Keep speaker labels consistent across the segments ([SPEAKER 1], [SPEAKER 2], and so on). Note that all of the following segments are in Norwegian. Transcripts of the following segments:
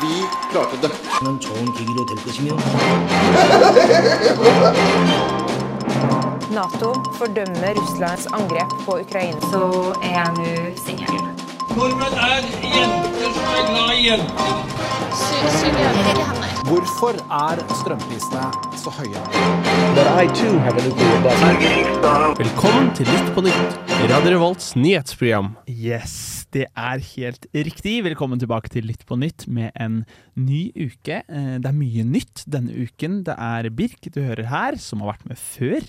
[SPEAKER 1] 클라우드
[SPEAKER 2] 는 좋은 계기로 될 것이며
[SPEAKER 3] Nato fordømmer Russlands angrep på Ukraina.
[SPEAKER 4] så er jeg nå singel.
[SPEAKER 5] Nordmenn er jenter som er glad i jenter.
[SPEAKER 6] Hvorfor er strømprisene så høye?
[SPEAKER 7] Velkommen til Lytt på nytt, Radio Revolts nyhetsprogram.
[SPEAKER 8] Yes, det er helt riktig. Velkommen tilbake til Litt på nytt med en ny uke. Eh, Det er mye nytt denne uken. Det er Birk du hører her, som har vært med før.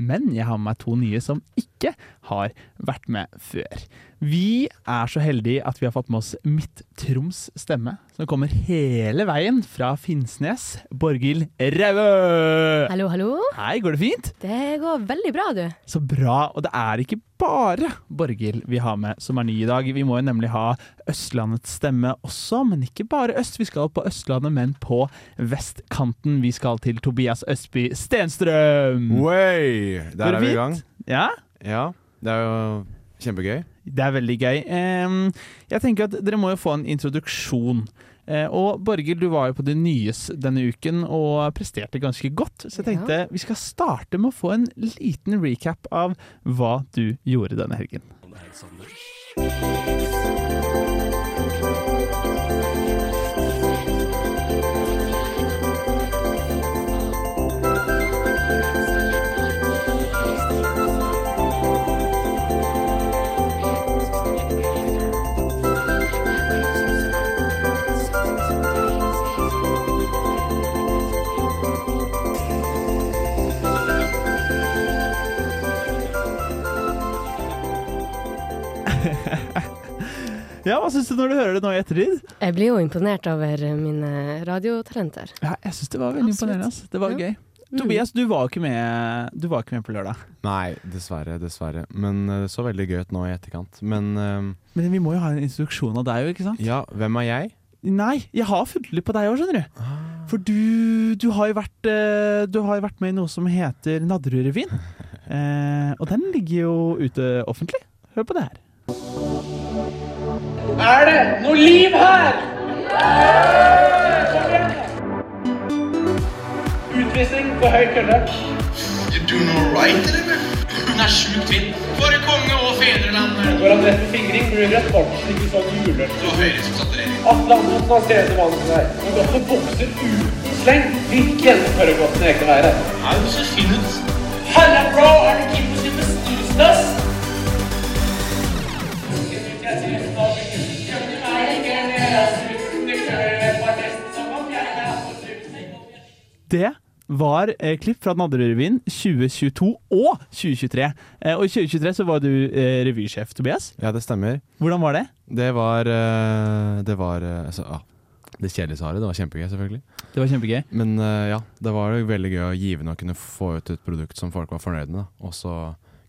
[SPEAKER 8] Men jeg har med meg to nye som ikke har vært med før. Vi er så heldige at vi har fått med oss Midt-Troms stemme, som kommer hele veien fra Finnsnes. Borghild Raue!
[SPEAKER 9] Hallo, hallo.
[SPEAKER 8] Hei, går det fint?
[SPEAKER 9] Det går veldig bra, du.
[SPEAKER 8] Så bra. Og det er ikke bare Borghild vi har med som er ny i dag. Vi må jo nemlig ha Østlandets stemme også, men ikke bare øst. Vi skal på Østlandet, men på vestkanten. Vi skal til Tobias Østby Stenstrøm.
[SPEAKER 10] Way!
[SPEAKER 8] Går
[SPEAKER 10] Der
[SPEAKER 8] det
[SPEAKER 10] er vi i gang.
[SPEAKER 8] fint? Ja,
[SPEAKER 10] Ja, det er jo kjempegøy.
[SPEAKER 8] det er veldig gøy. Ehm, Jeg tenker at dere må jo få en introduksjon. Eh, Og Borghild, du var jo på det nyes denne uken og presterte ganske godt. Så jeg tenkte vi skal starte med å få en liten recap av hva du gjorde denne helgen. Ja, Hva syns du når du hører det nå i ettertid?
[SPEAKER 9] Jeg blir jo imponert over mine radiotalenter.
[SPEAKER 8] Ja, jeg syns det var veldig
[SPEAKER 9] Absolutt.
[SPEAKER 8] imponerende. ass. Det var
[SPEAKER 9] Ja. Mm.
[SPEAKER 8] gøy. Tobias, du var jo ikke med, du var ikke med på lørdag.
[SPEAKER 10] Nei, dessverre, dessverre. Men eh, det så veldig gøy ut nå i etterkant. Men eh,
[SPEAKER 8] Men vi må jo ha en instruksjon av deg, jo, ikke sant?
[SPEAKER 10] ja, hvem er jeg?
[SPEAKER 8] Nei, jeg har funnet litt på deg òg, skjønner du. For du, du har jo vært, eh, du har jo vært med i noe som heter Nadderudrevyen. Eh, og den ligger jo ute offentlig. Hør på det her.
[SPEAKER 5] Er det noe liv her? Kom igjen, da. Utvisning på høy kølle. Hun er sjukt vill. For konge og fedreland. Går han rett i fingring, blir det rødt kort. Ikke sånn gule. Atle Antonsen har stjålet mannen sin her. Hun går for bukser uten sleng. Hvilken gjennomfører godt den egentlig er? Er du så fin ut? Halla, bro! Er det keeper sin bestilsnes?
[SPEAKER 8] Det var eh, klipp fra Nadderudrevyen 2022 og 2023. Eh, og i 2023 så var du eh, revysjef, Tobias.
[SPEAKER 10] Ja, det stemmer.
[SPEAKER 8] Hvordan var det?
[SPEAKER 10] Det var eh, Det var eh, altså, ah, Det kjedelige svaret. Det var kjempegøy, selvfølgelig.
[SPEAKER 8] Det var kjempegøy.
[SPEAKER 10] Men eh, ja, det var jo veldig gøy og givende å kunne få ut et produkt som folk var fornøyd med. da. Og så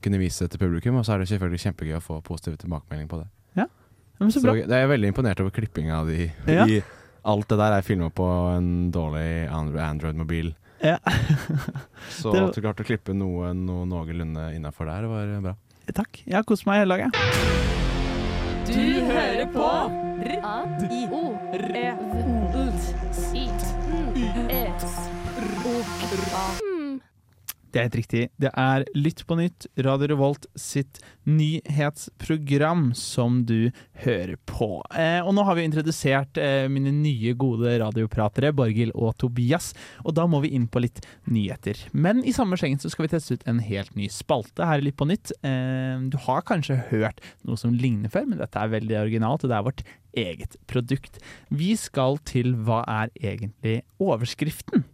[SPEAKER 10] kunne vise det til publikum, og så er det selvfølgelig kjempegøy å få positiv tilbakemelding på det.
[SPEAKER 8] Ja, Men så
[SPEAKER 10] Så
[SPEAKER 8] bra.
[SPEAKER 10] det er jeg er veldig imponert over klippinga di.
[SPEAKER 8] Ja.
[SPEAKER 10] I- Alt det der er filma på en dårlig Andro- Android-mobil.
[SPEAKER 8] Ja.
[SPEAKER 10] Så
[SPEAKER 8] Det var-
[SPEAKER 10] at du klarte å klippe noe, noe noenlunde innafor der, var bra.
[SPEAKER 8] Takk. Jeg har kost meg hele dagen.
[SPEAKER 9] Du hører på R-A-I-O-R-E-V-U-T-I-N-E-S-O-K-A.
[SPEAKER 8] Det er helt riktig. Det er Lytt på nytt, Radio Revolt sitt nyhetsprogram som du hører på. Eh, og nå har vi introdusert eh, mine nye, gode radiopratere, Borghild og Tobias. Og da må vi inn på litt nyheter. Men i samme slengen så skal vi teste ut en helt ny spalte her i Lytt på nytt. Eh, du har kanskje hørt noe som ligner før, men dette er veldig originalt, og det er vårt eget produkt. Vi skal til hva er egentlig overskriften?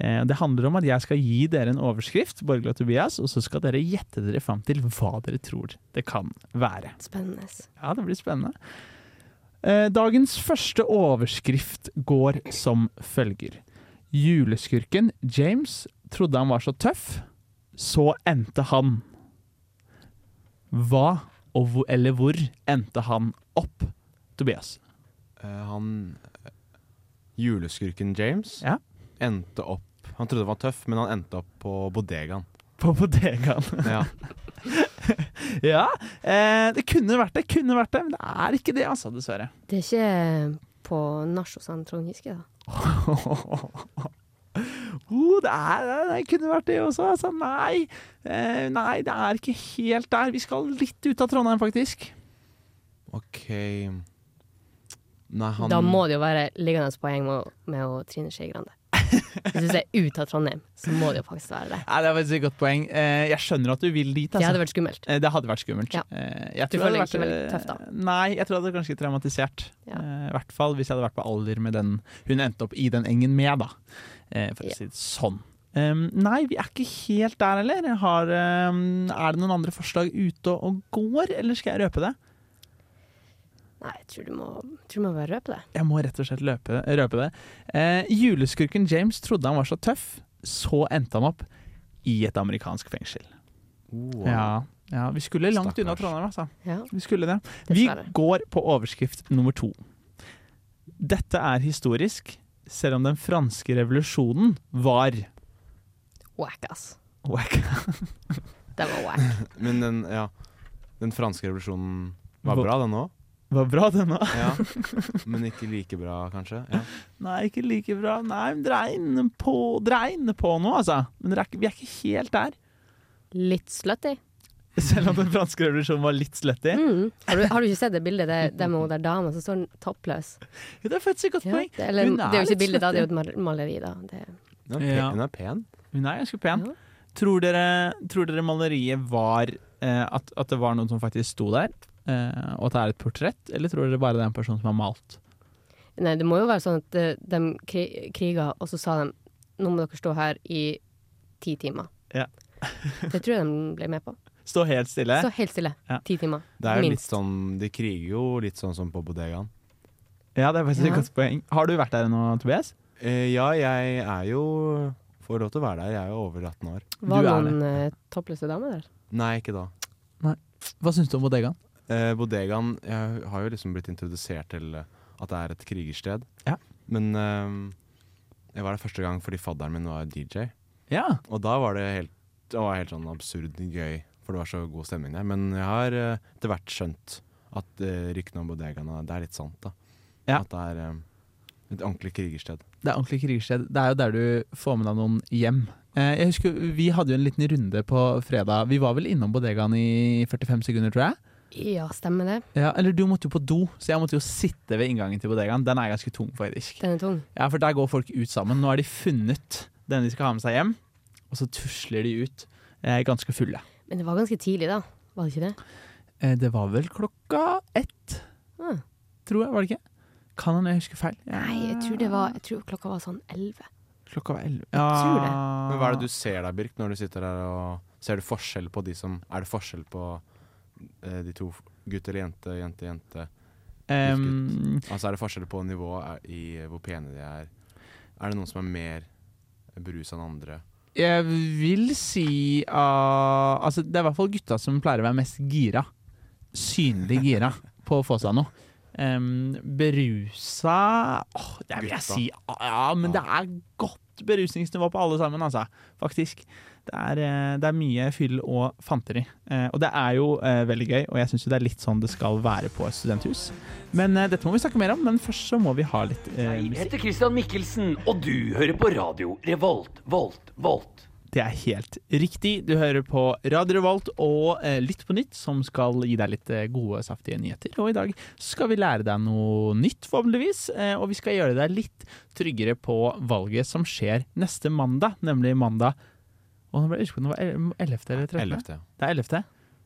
[SPEAKER 8] Eh, Det handler om at jeg skal gi dere en overskrift, Borghild og Tobias, og så skal dere gjette dere fram til hva dere tror det kan være.
[SPEAKER 9] Spennende.
[SPEAKER 8] Ja, det blir spennende. Eh, Dagens første overskrift går som følger. Juleskurken James trodde han var så tøff, så endte han. Hva og hvor, eller hvor endte han opp, Tobias?
[SPEAKER 10] Eh, han eh, juleskurken James
[SPEAKER 8] Ja.
[SPEAKER 10] endte opp Han trodde han var tøff, men han endte opp på bodegaen.
[SPEAKER 8] På bodegaen.
[SPEAKER 10] Ja.
[SPEAKER 8] Ja, eh, det kunne vært det, kunne vært det, men det er ikke det, altså, dessverre.
[SPEAKER 9] Det er ikke på Nasjosan Trond Giske, da.
[SPEAKER 8] Oh, det, er, det, det kunne vært det også. Altså, nei, eh, nei, det er ikke helt der. Vi skal litt ut av Trondheim, faktisk.
[SPEAKER 10] OK Nei, han
[SPEAKER 9] Da må det jo være liggende poeng med, med å Trine Skei Grande. Hvis du ser ut av Trondheim, så må det jo faktisk være det.
[SPEAKER 8] Nei, Det er faktisk et godt poeng. Eh, jeg skjønner at du vil dit.
[SPEAKER 9] Det
[SPEAKER 8] Altså.
[SPEAKER 9] hadde vært skummelt.
[SPEAKER 8] Eh, Det hadde vært skummelt.
[SPEAKER 9] Ja.
[SPEAKER 8] Eh, Jeg
[SPEAKER 9] Du
[SPEAKER 8] tror det
[SPEAKER 9] føler
[SPEAKER 8] hadde
[SPEAKER 9] deg ikke
[SPEAKER 8] vært,
[SPEAKER 9] veldig tøff, da?
[SPEAKER 8] eh, Nei, jeg tror det hadde ganske traumatisert.
[SPEAKER 9] Ja.
[SPEAKER 8] Eh, I hvert fall hvis jeg hadde vært på alder med den hun endte opp i den engen med, da. Eh, For å
[SPEAKER 9] Ja.
[SPEAKER 8] si det sånn. Um, nei, vi er ikke helt der heller. Jeg Har, um, er det noen andre forslag ute og går, eller skal jeg røpe det?
[SPEAKER 9] Nei, jeg tror du må, tror du må bare røpe det.
[SPEAKER 8] Jeg må rett og slett løpe, røpe det. Eh, juleskurken James trodde han var så tøff, så endte han opp i et amerikansk fengsel.
[SPEAKER 10] Wow.
[SPEAKER 8] Ja, ja, vi skulle langt unna
[SPEAKER 10] Stakkars.
[SPEAKER 8] Trondheim, altså.
[SPEAKER 9] Ja,
[SPEAKER 8] Vi skulle det. Vi
[SPEAKER 9] dessverre.
[SPEAKER 8] går på overskrift nummer to. Dette er historisk, selv om den franske revolusjonen var
[SPEAKER 9] Whack, ass.
[SPEAKER 8] Wack.
[SPEAKER 9] Det var whack.
[SPEAKER 10] Men den, ja. den franske revolusjonen var
[SPEAKER 8] Hva-
[SPEAKER 10] bra, den òg.
[SPEAKER 8] Var bra, det nå?
[SPEAKER 10] Ja. Men ikke like bra, kanskje. Ja.
[SPEAKER 8] Nei, ikke like bra. Nei, men dere er inne på, dere er inne på noe, altså. Men dere er, ikke- vi er ikke helt der.
[SPEAKER 9] Litt slutty.
[SPEAKER 8] Selv om den franske revolusjonen var litt slutty.
[SPEAKER 9] Mm. Har, du, har du ikke sett det bildet? Det, det med hun der dama som står toppløs.
[SPEAKER 8] Ja, Det er faktisk et godt
[SPEAKER 9] Ja,
[SPEAKER 8] poeng.
[SPEAKER 9] det, eller,
[SPEAKER 8] Hun
[SPEAKER 9] det er jo ikke
[SPEAKER 8] litt
[SPEAKER 9] bildet, da, det er jo
[SPEAKER 8] slutty.
[SPEAKER 9] et mal- maleri, da. Det,
[SPEAKER 10] Den, er pen,
[SPEAKER 8] Ja.
[SPEAKER 10] den er pen.
[SPEAKER 8] Hun er ganske pen.
[SPEAKER 9] Ja.
[SPEAKER 8] Tror, dere, tror dere maleriet var eh, at, at det var noen som faktisk sto der, eh, og at det er et portrett, eller tror dere bare det er en person som har malt?
[SPEAKER 9] nei, det må jo være sånn at eh, de kri- kriga, og så sa de nå må dere stå her i ti timer.
[SPEAKER 8] Ja.
[SPEAKER 9] Det tror jeg de ble med på.
[SPEAKER 8] Stå helt stille.
[SPEAKER 9] Så helt stille.
[SPEAKER 8] Ja.
[SPEAKER 9] Ti timer.
[SPEAKER 10] Det er jo litt
[SPEAKER 9] Minst.
[SPEAKER 10] sånn De kriger jo litt sånn som på bodegaen.
[SPEAKER 8] Ja, det er faktisk et
[SPEAKER 9] Ja.
[SPEAKER 8] godt poeng. Har du vært der nå, Tobias?
[SPEAKER 10] Eh, ja, jeg er jo Får lov til å være der. Jeg er jo over 18 år.
[SPEAKER 9] Var
[SPEAKER 8] Du
[SPEAKER 9] det
[SPEAKER 8] er
[SPEAKER 9] noen eh, toppløse damer der?
[SPEAKER 10] Nei, ikke da.
[SPEAKER 8] Hva syns du om bodegaen?
[SPEAKER 10] Eh, bodegaen Jeg har jo liksom blitt introdusert til eh, at det er et krigersted.
[SPEAKER 8] Ja.
[SPEAKER 10] Men eh, jeg var der første gang fordi fadderen min var DJ.
[SPEAKER 8] Ja.
[SPEAKER 10] Og da var det helt, det var helt sånn absurd gøy, for det var så god stemning der. Men jeg har eh, etter hvert skjønt at eh, ryktene om bodegaene, det er litt sant, da.
[SPEAKER 8] Ja.
[SPEAKER 10] At det er eh, et ordentlig krigersted.
[SPEAKER 8] Det er ordentlig krigersted. Det er jo der du får med deg noen hjem. Eh, Jeg husker Vi hadde jo en liten runde på fredag. Vi var vel innom bodegaen i 45 sekunder, tror jeg.
[SPEAKER 9] Ja, stemmer det.
[SPEAKER 8] Ja, eller du måtte jo på do, så jeg måtte jo sitte ved inngangen til bodegaen. Den er ganske tung, faktisk.
[SPEAKER 9] Den er tung.
[SPEAKER 8] Ja, For der går folk ut sammen. Nå har de funnet den de skal ha med seg hjem, og så tusler de ut eh, ganske fulle.
[SPEAKER 9] Men det var ganske tidlig, da. Var det ikke det?
[SPEAKER 8] Eh, Det var vel klokka ett,
[SPEAKER 9] Ah.
[SPEAKER 8] tror jeg. Var det ikke? Kan hende jeg husker feil.
[SPEAKER 9] Nei, jeg tror, det var, jeg tror klokka var sånn elleve.
[SPEAKER 8] Klokka var elleve.
[SPEAKER 9] tror det.
[SPEAKER 10] Men hva
[SPEAKER 9] Ah.
[SPEAKER 10] er det du ser der, Birk, når du sitter der og Ser du forskjell på de som Er det forskjell på eh, de to gutt eller jente, jente, jente?
[SPEAKER 8] Ehm,
[SPEAKER 10] Altså er det forskjell på nivå er- i eh, hvor pene de er? Er det noen som er mer brus enn andre?
[SPEAKER 8] jeg vil si ah, altså, Det er i hvert fall gutta som pleier å være mest gira. Synlig gira på å få seg noe. Ehm, berusa åh, Det vil
[SPEAKER 10] Gutta.
[SPEAKER 8] jeg si. ah, Ja, men det er godt berusningsnivå på alle sammen, altså. Faktisk. Det er, eh, det er mye fyll og fanteri. Eh, og det er jo eh, veldig gøy, og jeg syns det er litt sånn det skal være på et studenthus. Men eh, dette må vi snakke mer om, men først så må vi ha litt eh,
[SPEAKER 1] Jeg
[SPEAKER 8] musikk.
[SPEAKER 1] heter Christian Mikkelsen, og du hører på radio Revolt, Volt, Volt.
[SPEAKER 8] Det er helt riktig. Du hører på Radio Revolt og eh, Lytt på nytt, som skal gi deg litt eh, gode, saftige nyheter. Og i dag skal vi lære deg noe nytt, forhåpentligvis. Eh, og vi skal gjøre deg litt tryggere på valget som skjer neste mandag, nemlig mandag Og nå ble jeg usikker på om det var 11. eller 13.
[SPEAKER 10] 11.
[SPEAKER 8] Det er 11.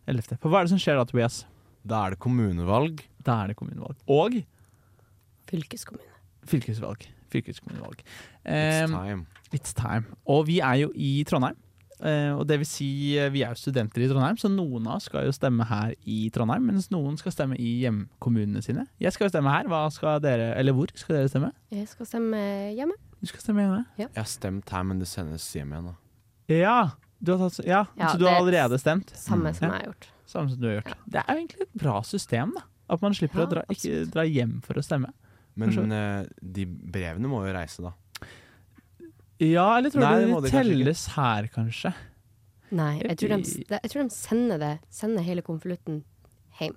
[SPEAKER 8] 11. For hva er det som skjer da, Tobias?
[SPEAKER 10] Da er det kommunevalg.
[SPEAKER 8] Da er det kommunevalg. Og
[SPEAKER 9] Fylkeskommune.
[SPEAKER 8] fylkesvalg. Fylkeskommunevalg. Eh,
[SPEAKER 10] It's time.
[SPEAKER 8] It's time. Og vi er jo i Trondheim. Eh, og det vil si, eh, vi er jo studenter i Trondheim, så noen av oss skal jo stemme her i Trondheim, mens noen skal stemme i hjemkommunene sine. Jeg skal jo stemme her. Hva skal dere, eller hvor skal dere stemme?
[SPEAKER 9] Jeg skal stemme hjemme.
[SPEAKER 8] Du skal stemme hjemme.
[SPEAKER 10] Jeg har stemt her, men det sendes hjem igjen. da
[SPEAKER 8] Ja! Du har tatt, ja,
[SPEAKER 9] Ja,
[SPEAKER 8] så du har
[SPEAKER 9] det-
[SPEAKER 8] allerede stemt?
[SPEAKER 9] Samme som
[SPEAKER 8] Ja.
[SPEAKER 9] jeg har gjort.
[SPEAKER 8] Samme som du har gjort. Det er jo egentlig et bra system, da. At man slipper
[SPEAKER 9] Ja,
[SPEAKER 8] å dra, ikke,
[SPEAKER 9] absolutt.
[SPEAKER 8] dra hjem for å stemme. For så
[SPEAKER 10] Men eh, de brevene må jo reise, da.
[SPEAKER 8] Ja, eller tror
[SPEAKER 10] Nei, det
[SPEAKER 8] du
[SPEAKER 10] må
[SPEAKER 8] det
[SPEAKER 10] de kanskje
[SPEAKER 8] telles her, kanskje?
[SPEAKER 9] Nei, jeg tror de, s- det- jeg tror de sender det Sender hele konvolutten hjem.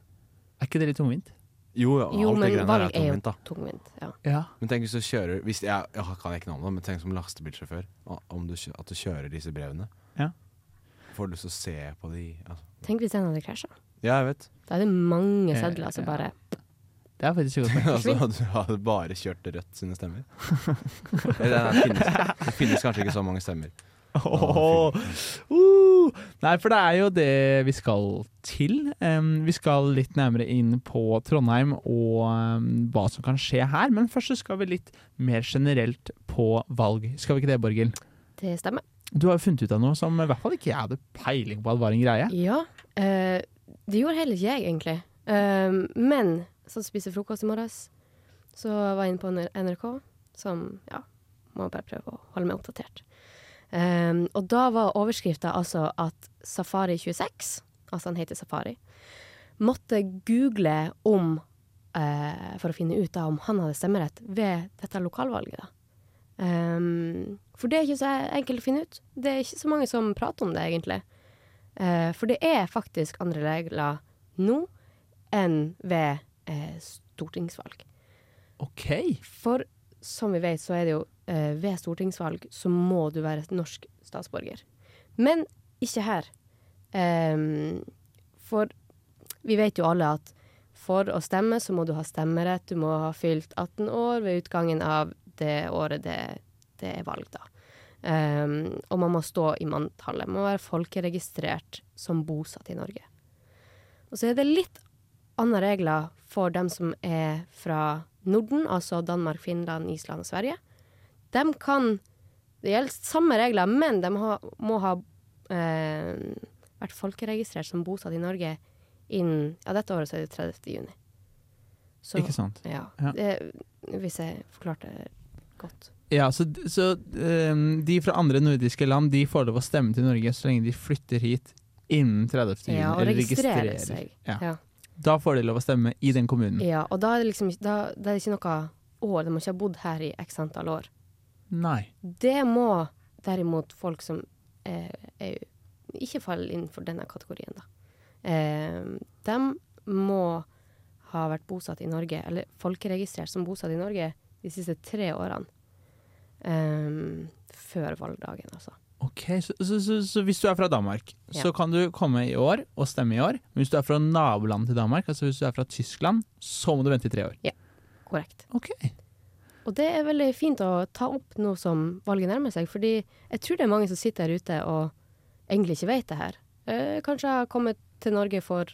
[SPEAKER 8] Er ikke det litt tungvint?
[SPEAKER 10] Jo, ja,
[SPEAKER 9] Jo,
[SPEAKER 10] alt det
[SPEAKER 9] men
[SPEAKER 10] greiene der
[SPEAKER 9] valg er
[SPEAKER 10] er
[SPEAKER 9] jo
[SPEAKER 10] tungvint, da.
[SPEAKER 9] tungvint. Ja.
[SPEAKER 8] Ja.
[SPEAKER 10] Men tenk hvis du kjører hvis, jeg, jeg kan ikke navnet, men tenk som lastebilsjåfør. a- Om du, kjø- at du kjører disse brevene.
[SPEAKER 8] Ja.
[SPEAKER 10] Får du lyst til å se på de altså.
[SPEAKER 9] Tenk hvis den hadde krasja.
[SPEAKER 10] Ja, jeg vet.
[SPEAKER 9] Da er det mange
[SPEAKER 8] Eh,
[SPEAKER 9] sedler som
[SPEAKER 8] ja.
[SPEAKER 9] bare
[SPEAKER 8] Det er faktisk et godt poeng.
[SPEAKER 10] altså, du hadde bare kjørt Rødt sine stemmer. Eller, nei, det, finnes, det finnes kanskje ikke så mange stemmer.
[SPEAKER 8] Åh, uh, nei, for det er jo det vi skal til. Em, vi skal litt nærmere inn på Trondheim og em, hva som kan skje her. Men først så skal vi litt mer generelt på valg. Skal vi ikke det, Borghild?
[SPEAKER 9] Det stemmer.
[SPEAKER 8] Du har jo funnet ut av noe som i hvert fall ikke jeg hadde peiling på at var en greie.
[SPEAKER 9] Ja. eh, det gjorde heller ikke jeg, egentlig. Eh, men så spiste jeg frokost i morges. Så var jeg inne på NRK, som ja, må bare prøve å holde meg oppdatert. Eh, og da var overskrifta altså at Safari 26, altså han heter Safari, måtte google om eh, for å finne ut da, om han hadde stemmerett ved dette lokalvalget. da. Eh, for det er ikke så enkelt å finne ut. Det er ikke så mange som prater om det, egentlig. Eh, for det er faktisk andre regler nå enn ved eh, stortingsvalg.
[SPEAKER 8] Ok.
[SPEAKER 9] For som vi vet, så er det jo eh, ved stortingsvalg så må du være et norsk statsborger. Men ikke her. Ehm, for vi vet jo alle at for å stemme så må du ha stemmerett, du må ha fylt 18 år ved utgangen av det året det, det er eh, valg, da. Ehm, og man må stå i manntallet. Man må være folkeregistrert som bosatt i Norge. Og så er det litt andre regler for dem som er fra Norden, altså Danmark, Finland, Island og Sverige. De kan Det gjelder samme regler, men de ha, må ha eh, vært folkeregistrert som bosatt i Norge innen Ja, dette året så er det 30. juni. Så,
[SPEAKER 8] Ikke sant.
[SPEAKER 9] Ja.
[SPEAKER 8] Ja.
[SPEAKER 9] Det, hvis jeg forklarte det godt.
[SPEAKER 8] Ja, så, så em, de fra andre nordiske land de får lov å stemme til Norge så lenge de flytter hit innen 30. juni.
[SPEAKER 9] Ja, og
[SPEAKER 8] eller
[SPEAKER 9] registrere
[SPEAKER 8] registrerer.
[SPEAKER 9] seg.
[SPEAKER 8] Ja. Mm.
[SPEAKER 9] Ja.
[SPEAKER 8] Da får de lov å stemme i den kommunen.
[SPEAKER 9] Ja, og da er det liksom ikke- da, da er det ikke noe år, de må ikke ha bodd her i x antall år.
[SPEAKER 8] Nei.
[SPEAKER 9] Det må derimot folk som eh, er, ikke faller innenfor denne kategorien, da. Eh, de må ha vært bosatt i Norge, eller folkeregistrert som bosatt i Norge, de siste tre årene. Eh, før valgdagen, altså.
[SPEAKER 8] Ok, så, så, så, så hvis du er fra Danmark,
[SPEAKER 9] Ja.
[SPEAKER 8] så kan du komme i år og stemme i år. Men hvis du er fra nabolandet til Danmark, altså hvis du er fra Tyskland, så må du vente i tre år.
[SPEAKER 9] Korrekt.
[SPEAKER 8] Ok.
[SPEAKER 9] Og det er veldig fint å ta opp nå som valget nærmer seg, fordi jeg tror det er mange som sitter der ute og egentlig ikke vet det her. Eh, kanskje har kommet til Norge for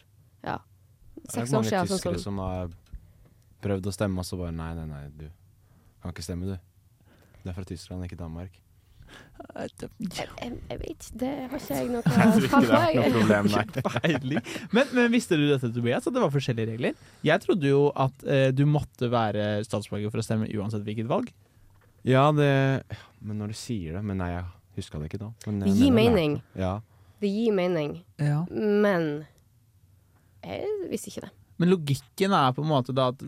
[SPEAKER 9] ja,
[SPEAKER 10] Det er
[SPEAKER 9] seks år
[SPEAKER 10] ikke mange
[SPEAKER 9] siden.
[SPEAKER 10] tyskere
[SPEAKER 9] Sånn som,
[SPEAKER 10] som har prøvd å stemme, og så bare nei, nei, nei, du kan ikke stemme, du. Du er fra Tyskland, ikke Danmark.
[SPEAKER 9] jeg, jeg vet ikke, det har ikke jeg noe tall på. Jeg.
[SPEAKER 10] problem,
[SPEAKER 8] Deilig. Men, men visste du dette, Tobias, at det var forskjellige regler? Jeg trodde jo at eh, du måtte være statsborger for å stemme uansett hvilket valg.
[SPEAKER 10] Ja, det Men når du sier det Men nei, jeg huska det ikke da. Men jeg
[SPEAKER 9] Det gir
[SPEAKER 10] mener
[SPEAKER 9] mening.
[SPEAKER 10] det. Ja.
[SPEAKER 9] Det gir mening,
[SPEAKER 8] Ja.
[SPEAKER 9] men jeg visste ikke det.
[SPEAKER 8] Men logikken er på en måte da at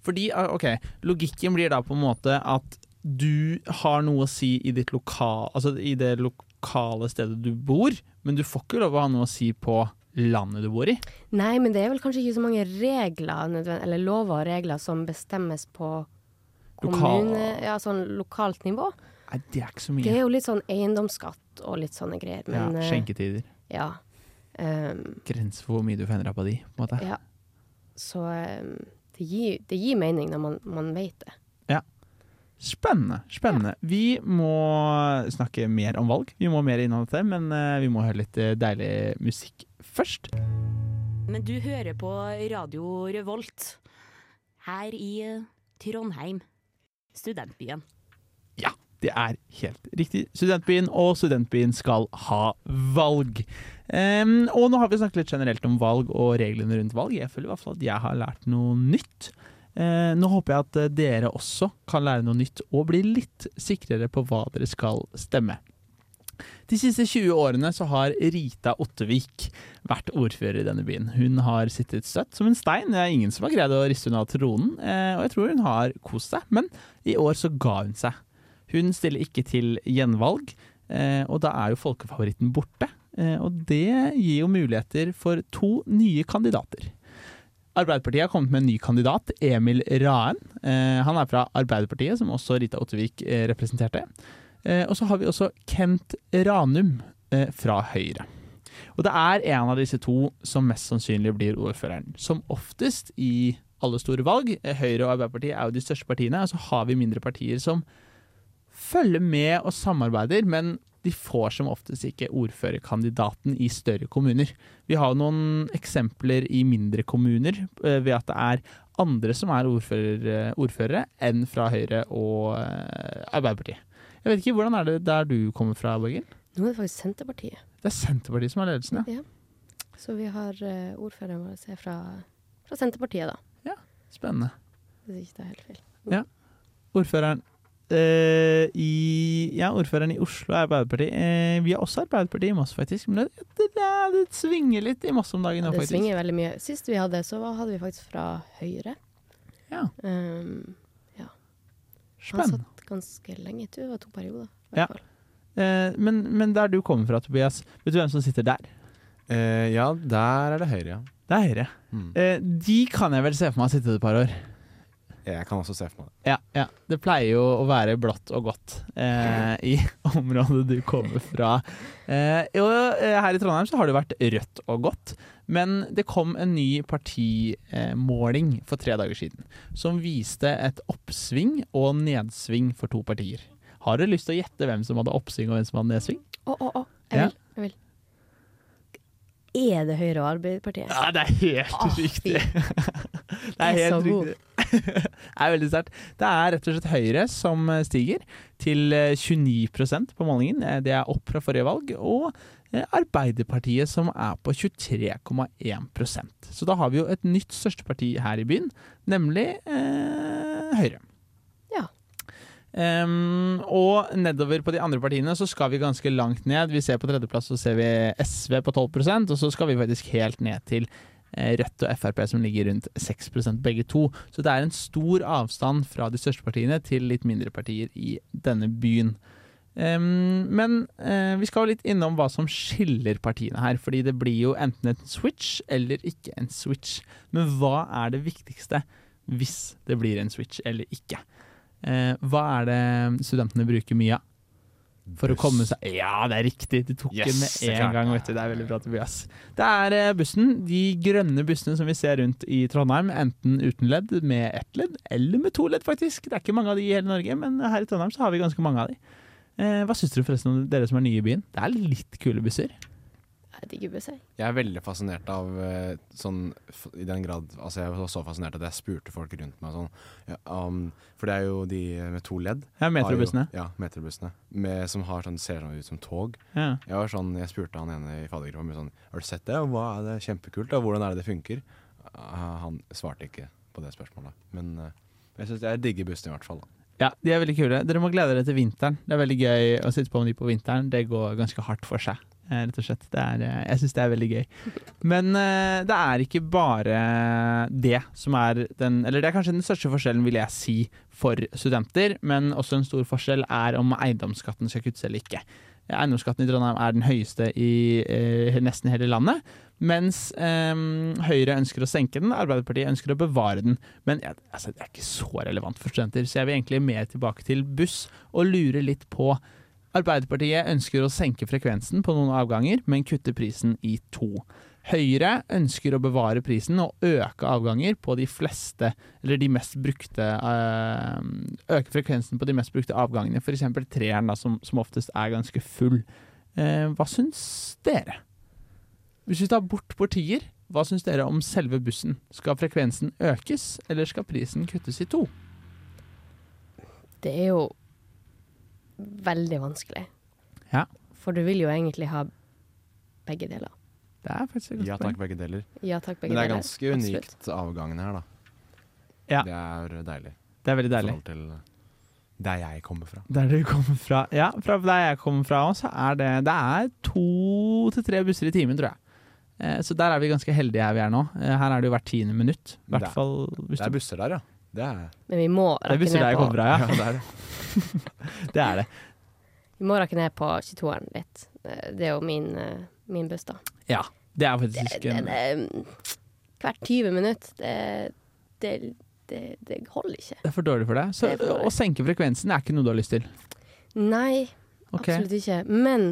[SPEAKER 8] Fordi, ah, ok, logikken blir da på en måte at du har noe å si i ditt lokal... Altså i det lokale stedet du bor, men du får ikke lov å ha noe å si på landet du bor i.
[SPEAKER 9] Nei, men det er vel kanskje ikke så mange regler, nødvendig- eller lover og regler, som bestemmes på
[SPEAKER 8] Lokal-
[SPEAKER 9] kommune, ja, sånn lokalt nivå.
[SPEAKER 8] Nei, det er ikke så
[SPEAKER 9] Det
[SPEAKER 8] mye.
[SPEAKER 9] er jo litt sånn eiendomsskatt og litt sånne greier. Men,
[SPEAKER 8] ja,
[SPEAKER 9] eh,
[SPEAKER 8] skjenketider.
[SPEAKER 9] ja. Ehm,
[SPEAKER 8] Grenser for hvor mye du får endra på de. på en måte.
[SPEAKER 9] ja. Så ehm, det, gir, det gir mening når man, man vet det.
[SPEAKER 8] Spennende. spennende. Vi må snakke mer om valg. Vi må mer innom dette, men eh, vi må høre litt eh, deilig musikk først.
[SPEAKER 11] Men du hører på Radio Revolt her i eh, Trondheim, studentbyen.
[SPEAKER 8] Ja, det er helt riktig. Studentbyen og Studentbyen skal ha valg. Ehm, og nå har vi snakket litt generelt om valg og reglene rundt valg. Jeg føler i hvert fall at jeg har lært noe nytt. Eh, nå håper jeg at eh, dere også kan lære noe nytt og bli litt sikrere på hva dere skal stemme. De siste 20 årene så har Rita Ottevik vært ordfører i denne byen. Hun har sittet støtt som en stein. Det er ingen som har greid å riste henne av tronen, eh, og jeg tror hun har kost seg. Men i år så ga hun seg. Hun stiller ikke til gjenvalg, eh, og da er jo folkefavoritten borte. Eh, Og det gir jo muligheter for to nye kandidater. Arbeiderpartiet har kommet med en ny kandidat, Emil Raen. Eh, han er fra Arbeiderpartiet, som også Rita Ottervik eh, representerte. Eh, og så har vi også Kent Ranum eh, fra Høyre. Og det er en av disse to som mest sannsynlig blir ordføreren. Som oftest i alle store valg. Eh, Høyre og Arbeiderpartiet er jo de største partiene, og så har vi mindre partier som følger med og samarbeider, men de får som oftest ikke ordførerkandidaten i større kommuner. Vi har jo noen eksempler i mindre kommuner eh, ved at det er andre som er ordfører, eh, ordførere enn fra Høyre og eh, Arbeiderpartiet. Jeg vet ikke, Hvordan er det der du kommer fra, Borghild?
[SPEAKER 9] Nå er det faktisk Senterpartiet.
[SPEAKER 8] Det er Senterpartiet som er ledelsen, ja.
[SPEAKER 9] Ja. Så vi har eh, ordføreren vår som er fra, fra Senterpartiet, da.
[SPEAKER 8] Spennende.
[SPEAKER 9] Hvis ikke det er helt feil.
[SPEAKER 8] Ja. Ordføreren eh, i Ja, ordføreren i Oslo er Arbeiderpartiet. Eh, vi har også Arbeiderpartiet i Moss, faktisk. Men det, det, det, det svinger litt i Moss om dagen nå,
[SPEAKER 9] Det
[SPEAKER 8] faktisk.
[SPEAKER 9] svinger veldig mye. Sist vi hadde, så var- hadde vi faktisk fra Høyre.
[SPEAKER 8] Ja.
[SPEAKER 9] Um, ja. Han
[SPEAKER 8] Spennende.
[SPEAKER 9] satt ganske lenge, jeg tror det var to perioder.
[SPEAKER 8] Ja. Eh, men, men der du kommer fra, Tobias, vet du hvem som sitter der?
[SPEAKER 10] Eh, ja, der er det Høyre, ja.
[SPEAKER 8] Det er Høyre.
[SPEAKER 10] Mm.
[SPEAKER 8] Eh, de kan jeg vel se for meg har sittet et par år.
[SPEAKER 10] Jeg kan også se for meg det.
[SPEAKER 8] Ja, ja. Det pleier jo å være blått og godt eh, i området du kommer fra. Eh, jo, eh, her i Trondheim så har det vært rødt og godt, men det kom en ny partimåling eh, for tre dager siden som viste et oppsving og nedsving for to partier. Har du lyst til å gjette hvem som hadde oppsving og hvem som hadde nedsving?
[SPEAKER 9] Å, å, å.
[SPEAKER 8] Ja.
[SPEAKER 9] Jeg vil. Jeg vil. Er det Høyre og Arbeiderpartiet?
[SPEAKER 8] Ja, det er helt
[SPEAKER 9] Å, fy.
[SPEAKER 8] riktig. Det er
[SPEAKER 9] Jeg er så
[SPEAKER 8] helt
[SPEAKER 9] god.
[SPEAKER 8] riktig. Det er veldig sterkt. Det er rett og slett Høyre som eh, stiger til eh, 29 på målingen. Eh, Det er opp fra forrige valg. Og eh, Arbeiderpartiet som er på 23,1 Så da har vi jo et nytt største parti her i byen, nemlig eh, Høyre.
[SPEAKER 9] Ja.
[SPEAKER 8] Ehm, og nedover på de andre partiene så skal vi ganske langt ned. Vi ser på tredjeplass så ser vi SV på 12 og så skal vi faktisk helt ned til eh, Rødt og Frp som ligger rundt 6 begge to. Så det er en stor avstand fra de største partiene til litt mindre partier i denne byen. Ehm, men eh, vi skal jo litt innom hva som skiller partiene her, fordi det blir jo enten en switch eller ikke en switch. Men hva er det viktigste hvis det blir en switch eller ikke? Eh, hva er det studentene bruker mye av? For å
[SPEAKER 10] Buss.
[SPEAKER 8] komme seg Ja, det er riktig! De tok
[SPEAKER 10] Yes,
[SPEAKER 8] den
[SPEAKER 10] det
[SPEAKER 8] med
[SPEAKER 10] er klart.
[SPEAKER 8] en gang. Vet du. Det er veldig bra, Tobias. Det er eh, bussen. De grønne bussene som vi ser rundt i Trondheim. Enten uten ledd, med ett ledd, eller med to ledd, faktisk. Det er ikke mange av de i hele Norge, men her i Trondheim så har vi ganske mange av de. Eh, hva syns dere forresten om dere som er nye i byen? Det er litt kule busser.
[SPEAKER 9] Jeg digger buss, jeg.
[SPEAKER 10] Jeg er veldig fascinert av eh, sånn f- I den grad Altså, jeg var så fascinert at jeg spurte folk rundt meg sånn ja, um, For det er jo de med to ledd.
[SPEAKER 8] Ja,
[SPEAKER 10] har jo-
[SPEAKER 8] metrobussene.
[SPEAKER 10] Ja, metrobussene. Med, som har sånn, ser sånn ut som tog.
[SPEAKER 8] Ja.
[SPEAKER 10] Jeg var sånn, jeg spurte han ene i faddergruppa mi sånn Har du sett det? Hva er det kjempekult? Og hvordan er det det funker? Ah, han svarte ikke på det spørsmålet. Men eh, jeg syns jeg digger bussen i hvert fall. Da.
[SPEAKER 8] Ja, de er veldig kule. Dere må glede dere til vinteren. Det er veldig gøy å sitte på med de på vinteren. Det går ganske hardt for seg, eh, rett og slett. Det er, eh, jeg syns det er veldig gøy. Men eh, det er ikke bare det som er den Eller det er kanskje den største forskjellen, vil jeg si, for studenter. Men også en stor forskjell er om eiendomsskatten skal kuttes eller ikke. Eiendomsskatten i Trondheim er den høyeste i eh, nesten hele landet. Mens eh, Høyre ønsker å senke den, Arbeiderpartiet ønsker å bevare den. Men jeg, altså, det er ikke så relevant for studenter, så jeg vil egentlig mer tilbake til buss og lure litt på Arbeiderpartiet ønsker å senke frekvensen på noen avganger, men kutte prisen i to. Høyre ønsker å bevare prisen og øke avganger på de fleste, eller de mest brukte eh, Øke frekvensen på de mest brukte avgangene, f.eks. treeren, da, som, som oftest er ganske full. Eh, hva syns dere? Hvis vi tar bort partier, hva syns dere om selve bussen? Skal frekvensen økes, eller skal prisen kuttes i to?
[SPEAKER 9] Det er jo veldig vanskelig.
[SPEAKER 8] Ja.
[SPEAKER 9] For du vil jo egentlig ha begge deler.
[SPEAKER 8] Det er faktisk et godt
[SPEAKER 10] Ja takk, begge deler.
[SPEAKER 9] Ja takk, begge
[SPEAKER 10] Men det er
[SPEAKER 9] deler.
[SPEAKER 10] ganske
[SPEAKER 9] Absolutt.
[SPEAKER 10] unikt avgangen her, da.
[SPEAKER 8] Ja.
[SPEAKER 10] Det er deilig.
[SPEAKER 8] Det er veldig
[SPEAKER 10] I
[SPEAKER 8] deilig.
[SPEAKER 10] forhold til eh, der jeg kommer fra.
[SPEAKER 8] Sånn. Der du kommer fra Ja, fra der jeg kommer fra også, så er det Det er to til tre busser i timen, tror jeg. Eh, Så der er vi ganske heldige her vi er nå. Eh, Her er det jo hvert tiende minutt. I
[SPEAKER 10] Det
[SPEAKER 8] hvert
[SPEAKER 10] er-
[SPEAKER 8] fall hvis
[SPEAKER 10] Det er
[SPEAKER 8] du
[SPEAKER 10] busser der, ja. Det er
[SPEAKER 9] Men vi må
[SPEAKER 8] Det er
[SPEAKER 9] rakke
[SPEAKER 8] busser der
[SPEAKER 9] ned
[SPEAKER 8] jeg
[SPEAKER 9] på,
[SPEAKER 8] kommer fra, ja.
[SPEAKER 10] det er det.
[SPEAKER 8] Det er det.
[SPEAKER 9] vi må rakke ned på 22-eren litt. Eh, Det er jo min, eh, min buss, da. Eh,
[SPEAKER 8] Ja. Det er
[SPEAKER 9] Det,
[SPEAKER 8] faktisk
[SPEAKER 9] det,
[SPEAKER 8] en
[SPEAKER 9] det, hvert 20 minutt. Det, det, det, det holder ikke.
[SPEAKER 8] Det er for dårlig for deg. Så
[SPEAKER 9] Det er for dårlig.
[SPEAKER 8] å senke frekvensen er ikke noe du har lyst til.
[SPEAKER 9] Nei,
[SPEAKER 8] Ok.
[SPEAKER 9] absolutt ikke. Men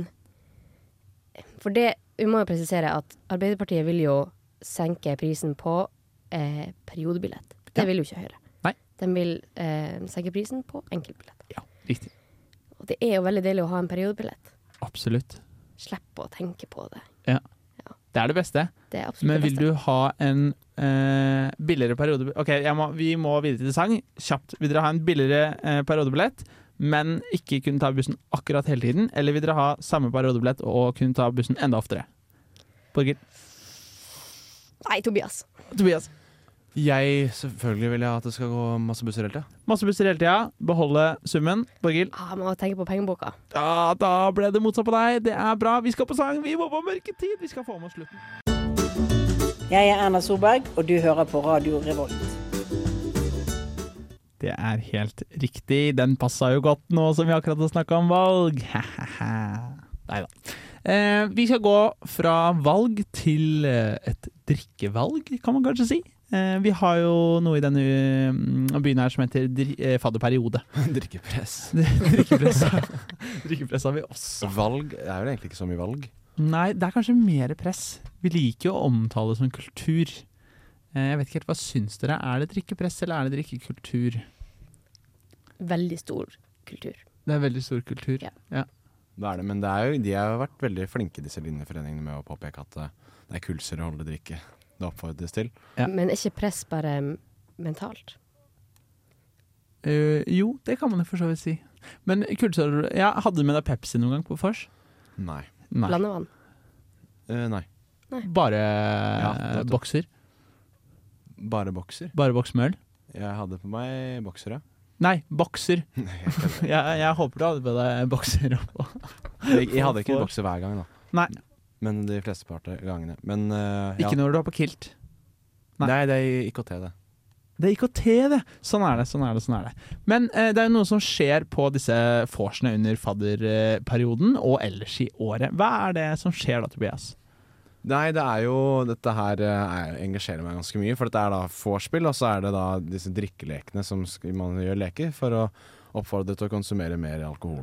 [SPEAKER 9] For det vi må jo presisere at Arbeiderpartiet vil jo senke prisen på eh, periodebillett.
[SPEAKER 8] Ja.
[SPEAKER 9] Det vil jo ikke Høyre.
[SPEAKER 8] Nei.
[SPEAKER 9] De vil eh, senke prisen på enkeltbillett.
[SPEAKER 8] Riktig.
[SPEAKER 9] Og det er jo veldig deilig å ha en periodebillett.
[SPEAKER 8] Absolutt.
[SPEAKER 9] Slippe å tenke på det.
[SPEAKER 8] Ja. Det er det beste.
[SPEAKER 9] Det er absolutt
[SPEAKER 8] Men
[SPEAKER 9] det
[SPEAKER 8] vil
[SPEAKER 9] beste.
[SPEAKER 8] du ha en eh, billigere periode... Ok, jeg må, vi må videre til sang. Kjapt. Vil dere ha en billigere eh, periodebillett, men ikke kunne ta bussen akkurat hele tiden? Eller vil dere ha samme periodebillett og kunne ta bussen enda oftere? Borghild?
[SPEAKER 9] Nei, Tobias.
[SPEAKER 8] Tobias?
[SPEAKER 10] Jeg selvfølgelig vil jeg at det skal gå masse busser hele tida.
[SPEAKER 8] Masse busser hele tida. Beholde summen. Borghild?
[SPEAKER 9] Ah, må tenke på pengeboka.
[SPEAKER 8] Ja, da ble det motsatt på deg. Det er bra. Vi skal på sang. Vi må på mørketid. Vi skal få med oss slutten.
[SPEAKER 12] Jeg er Erna Solberg, og du hører på Radio Revolt.
[SPEAKER 8] Det er helt riktig. Den passa jo godt nå som vi akkurat har snakka om valg. Nei da. Eh, vi skal gå fra valg til eh, et drikkevalg, kan man kanskje si. Eh, vi har jo noe i denne mm, byen her som heter dri eh, fadderperiode.
[SPEAKER 10] Drikkepress.
[SPEAKER 8] Drikkepress. Drikkepress har vi også.
[SPEAKER 10] Valg det er vel egentlig ikke så mye valg.
[SPEAKER 8] Nei, det er kanskje mer press. Vi liker jo å omtale det som kultur. Eh, jeg vet ikke helt, Hva syns dere? Er det drikkepress, eller er det drikkekultur?
[SPEAKER 9] Veldig stor kultur.
[SPEAKER 8] Det er veldig stor kultur. Ja.
[SPEAKER 10] Det er det, men det er jo, de har jo vært veldig flinke, disse linjeforeningene, med å påpeke at eh, det er kulser å holde drikke. Det oppfordres til.
[SPEAKER 9] Men er ikke press bare mm, mentalt?
[SPEAKER 8] Eh, jo, det kan man jo for så vidt si. Men kullsøl ja, Hadde du med deg Pepsi noen gang på vors?
[SPEAKER 10] Nei.
[SPEAKER 8] Nei.
[SPEAKER 9] Blandevann?
[SPEAKER 10] Eh, nei.
[SPEAKER 8] Bare
[SPEAKER 10] det var to.
[SPEAKER 8] bokser?
[SPEAKER 10] Bare bokser.
[SPEAKER 8] Bare boks med øl?
[SPEAKER 10] Jeg hadde på meg bokser, ja.
[SPEAKER 8] Nei, bokser. jeg, jeg håper du hadde med deg bokser.
[SPEAKER 10] Jeg, jeg hadde ikke bokser hver gang, da.
[SPEAKER 8] Nei.
[SPEAKER 10] Men de fleste parte gangene. Men eh, ja.
[SPEAKER 8] Ikke når du har på kilt.
[SPEAKER 10] Nei. det er IKT, det.
[SPEAKER 8] Det er IKT, det! Sånn er det, sånn er det. sånn er det Men eh, det er jo noe som skjer på disse vorsene under fadderperioden og ellers i året. Hva er det som skjer da, Tobias?
[SPEAKER 10] Nei, det er jo Dette her eh, er, engasjerer meg ganske mye. For dette er da vorspiel, og så er det da disse drikkelekene som sk- man gjør leker for å oppfordre til å konsumere mer alkohol.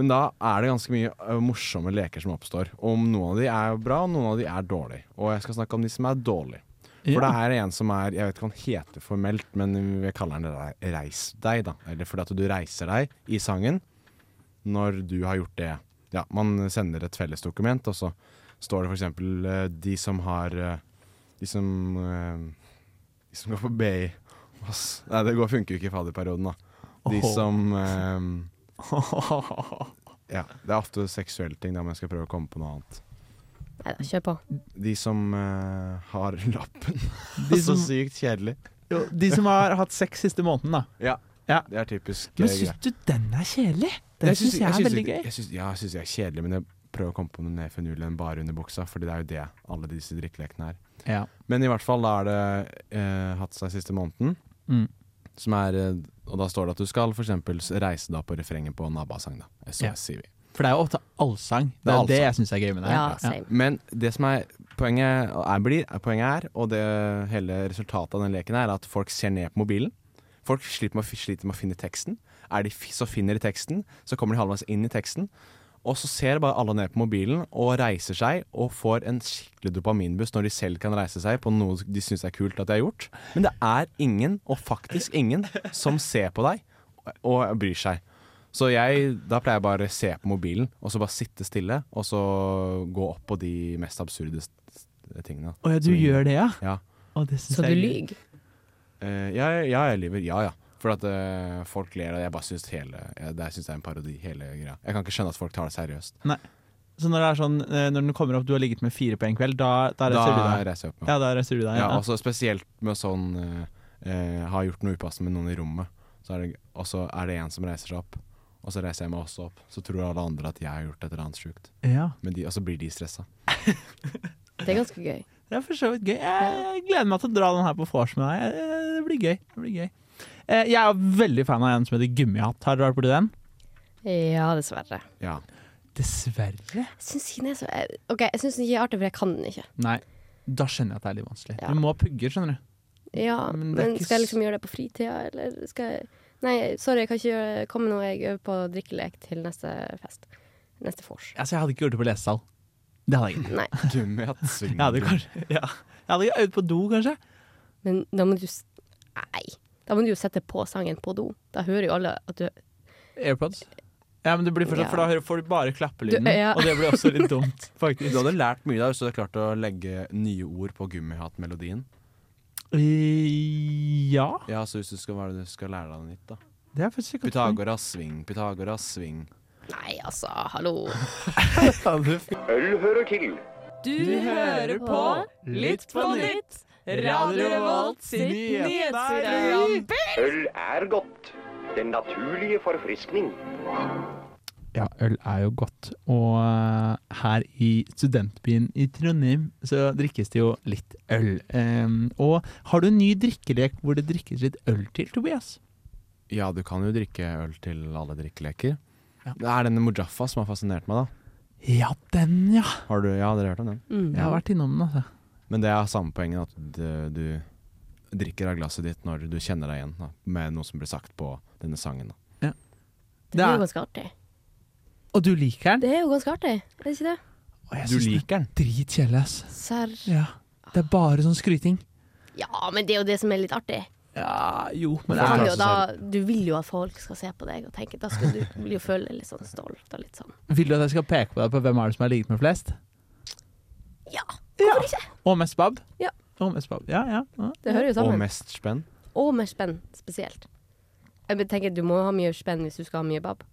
[SPEAKER 10] Men da er det ganske mye eh, morsomme leker som oppstår. Om noen av de er bra, og noen av de er dårlige. Og jeg skal snakke om de som er dårlige. For det
[SPEAKER 8] Ja.
[SPEAKER 10] er en som er Jeg vet ikke hva han heter formelt, men vi kaller han Re- Reis deg, da. Eller fordi at du reiser deg i sangen når du har gjort det. Ja, man sender et felles dokument, og så står det f.eks. de som har eh, De som eh, De som går på BI Ass, Nei, det går, funker jo ikke i fadderperioden, da. De
[SPEAKER 8] Åh.
[SPEAKER 10] som eh, Ja, det er ofte seksuelle ting, da, men jeg skal prøve å komme på noe annet.
[SPEAKER 9] Nei da, kjør på.
[SPEAKER 10] De som eh, har lappen.
[SPEAKER 8] De
[SPEAKER 10] så
[SPEAKER 8] som-
[SPEAKER 10] sykt kjedelig.
[SPEAKER 8] Jo, de som har hatt sex siste måneden, da.
[SPEAKER 10] Ja.
[SPEAKER 8] Ja.
[SPEAKER 10] Det er typisk
[SPEAKER 8] Men
[SPEAKER 10] eh,
[SPEAKER 8] syns
[SPEAKER 10] greit.
[SPEAKER 8] du den er kjedelig? Den syns jeg, er veldig gøy.
[SPEAKER 10] Jeg syns, ja, jeg syns jeg er kjedelig, men jeg prøver å komme på noe mer finurlig enn bare under buksa, Fordi det er jo det alle disse drikkelekene er.
[SPEAKER 8] Ja.
[SPEAKER 10] Men i hvert fall, da er det eh, hatt seg siste måneden,
[SPEAKER 8] Mm.
[SPEAKER 10] som er eh, Og da står det at du skal for eksempel s- reise da på refrenget på en ABBA-sang, da. SOS,
[SPEAKER 8] Ja.
[SPEAKER 10] sier vi.
[SPEAKER 8] For det er jo ofte allsang. Det er det,
[SPEAKER 10] allsang.
[SPEAKER 8] jeg syns er gøy med det. her. Ja.
[SPEAKER 10] Men det som er poenget, er, blir, er poenget er, og det hele resultatet av den leken er, at folk ser ned på mobilen. Folk sliter med, å fi- sliter med å finne teksten. Er de f- så finner de teksten, så kommer de halvveis inn i teksten. Og så ser bare alle ned på mobilen og reiser seg og får en skikkelig dopaminbuss når de selv kan reise seg på noe de syns er kult at de har gjort. Men det er ingen, og faktisk ingen, som ser på deg og bryr seg. Så jeg, da pleier jeg bare å se på mobilen, og så bare sitte stille, og så gå opp på de mest absurde s- s- tingene.
[SPEAKER 8] Å ja, du gjør det, ja?
[SPEAKER 10] Ja.
[SPEAKER 8] Å, det syns
[SPEAKER 10] Så
[SPEAKER 8] jeg
[SPEAKER 10] du
[SPEAKER 8] er gøy.
[SPEAKER 10] lyg? Eh, ja, ja, jeg lyver. Ja, ja. For at eh, folk ler, og jeg bare syns hele jeg, Det syns jeg er en parodi, hele greia. Jeg kan ikke skjønne at folk tar det seriøst.
[SPEAKER 8] Nei. Så når det er sånn eh, Når den kommer opp, du har ligget med fire på en kveld, da, da reiser du deg?
[SPEAKER 10] reiser jeg opp.
[SPEAKER 8] Ja, da reiser du deg.
[SPEAKER 10] Ja,
[SPEAKER 8] Ja,
[SPEAKER 10] også spesielt med sånn eh, eh, Har gjort noe upassende med noen i rommet, så er det, og så er det en som reiser seg opp. Og så reiser jeg meg også opp. Så tror alle andre at jeg har gjort et eller annet sjukt.
[SPEAKER 8] Ja.
[SPEAKER 10] Men de- Og så blir de stressa.
[SPEAKER 9] Det er ganske gøy.
[SPEAKER 8] Det er for så vidt gøy. Jeg gleder meg til å dra den her på vors med deg. Eh, Det blir gøy. Det blir gøy. Eh, Jeg er veldig fan av en som heter Gummihatt. Har dere vært borti den?
[SPEAKER 9] Ja, dessverre.
[SPEAKER 10] Ja.
[SPEAKER 8] Dessverre?
[SPEAKER 9] eh, Jeg syns ikke den er så jeg- OK, jeg syns den ikke er artig, for jeg kan den ikke.
[SPEAKER 8] Nei. Da skjønner jeg at det er litt vanskelig. Du må ha pugger, skjønner du.
[SPEAKER 9] Ja,
[SPEAKER 8] Men
[SPEAKER 9] men,
[SPEAKER 8] det er ikke
[SPEAKER 9] skal jeg
[SPEAKER 8] s-
[SPEAKER 9] liksom gjøre det på fritida, eller skal jeg Nei, sorry, jeg kan ikke gjøre, komme nå. Jeg øver på drikkelek til neste fest. Neste vors.
[SPEAKER 8] Altså, jeg hadde ikke gjort det på lesesal. Det hadde jeg ikke.
[SPEAKER 9] Nei.
[SPEAKER 8] Jeg hadde kanskje ja. Jeg hadde ikke øvd på do, kanskje.
[SPEAKER 9] Men da må du s- Nei. Da må du jo sette på sangen på do. Da hører jo alle at du
[SPEAKER 8] Airpods. Ja, men det blir fortsatt,
[SPEAKER 9] Ja.
[SPEAKER 8] for da hører- får du bare klappelyden,
[SPEAKER 9] Du- ja.
[SPEAKER 8] og det blir også litt dumt, faktisk.
[SPEAKER 10] Du hadde lært mye der hvis du hadde klart å legge nye ord på gummihattmelodien.
[SPEAKER 8] Ja.
[SPEAKER 10] Ja, så hvis du skal, hva er det du skal lære deg noe nytt, da?
[SPEAKER 8] Det er faktisk et godt poeng.
[SPEAKER 10] Pythagoras sving, Pythagoras sving.
[SPEAKER 9] Nei, altså, hallo.
[SPEAKER 10] Øl hører til.
[SPEAKER 13] Du hører på Litt på nytt. Radio Revolt sitt nyhetsprogram.
[SPEAKER 14] Øl er godt. Den naturlige forfriskning.
[SPEAKER 8] Ja, øl er jo godt. Og eh, her i studentbyen i Trondheim så drikkes det jo litt øl. Em, og har du en ny drikkelek hvor det drikkes litt øl til, Tobias?
[SPEAKER 10] Ja, du kan jo drikke øl til alle drikkeleker. Det er denne Mujaffa som har fascinert meg, da.
[SPEAKER 8] Ja, den, ja.
[SPEAKER 10] Har du, ja, dere har hørt om den?
[SPEAKER 13] Mm.
[SPEAKER 8] Jeg har vært innom den, altså.
[SPEAKER 10] Men det er samme poenget at du, du drikker av glasset ditt når du kjenner deg igjen da, med noe som ble sagt på denne sangen. Da.
[SPEAKER 9] Det er jo ganske artig.
[SPEAKER 8] Og du liker den?
[SPEAKER 9] Det er jo ganske artig, er det ikke det?
[SPEAKER 10] Du liker den?
[SPEAKER 8] Dritkjedelig, ass.
[SPEAKER 9] Serr.
[SPEAKER 8] Ja. Det er bare sånn skryting.
[SPEAKER 9] Ja, men det er jo det som er litt artig.
[SPEAKER 8] Ja, jo, men
[SPEAKER 9] Du
[SPEAKER 8] det
[SPEAKER 9] kan
[SPEAKER 8] er
[SPEAKER 9] jo da, du vil jo at folk skal se på deg og tenke Da skal du bli jo føle deg litt sånn stolt og litt sånn.
[SPEAKER 8] Vil du at jeg skal peke på deg på hvem er det som har ligget med flest?
[SPEAKER 9] Ja,
[SPEAKER 8] hvorfor ikke? Og mest babb?
[SPEAKER 9] Ja.
[SPEAKER 8] Og mest babb. Ja, ja. ja.
[SPEAKER 9] Det hører jo sammen. Og
[SPEAKER 10] mest spenn.
[SPEAKER 9] Og mer spenn, spesielt. Jeg bare tenker Du må ha mye spenn hvis du skal ha mye bab.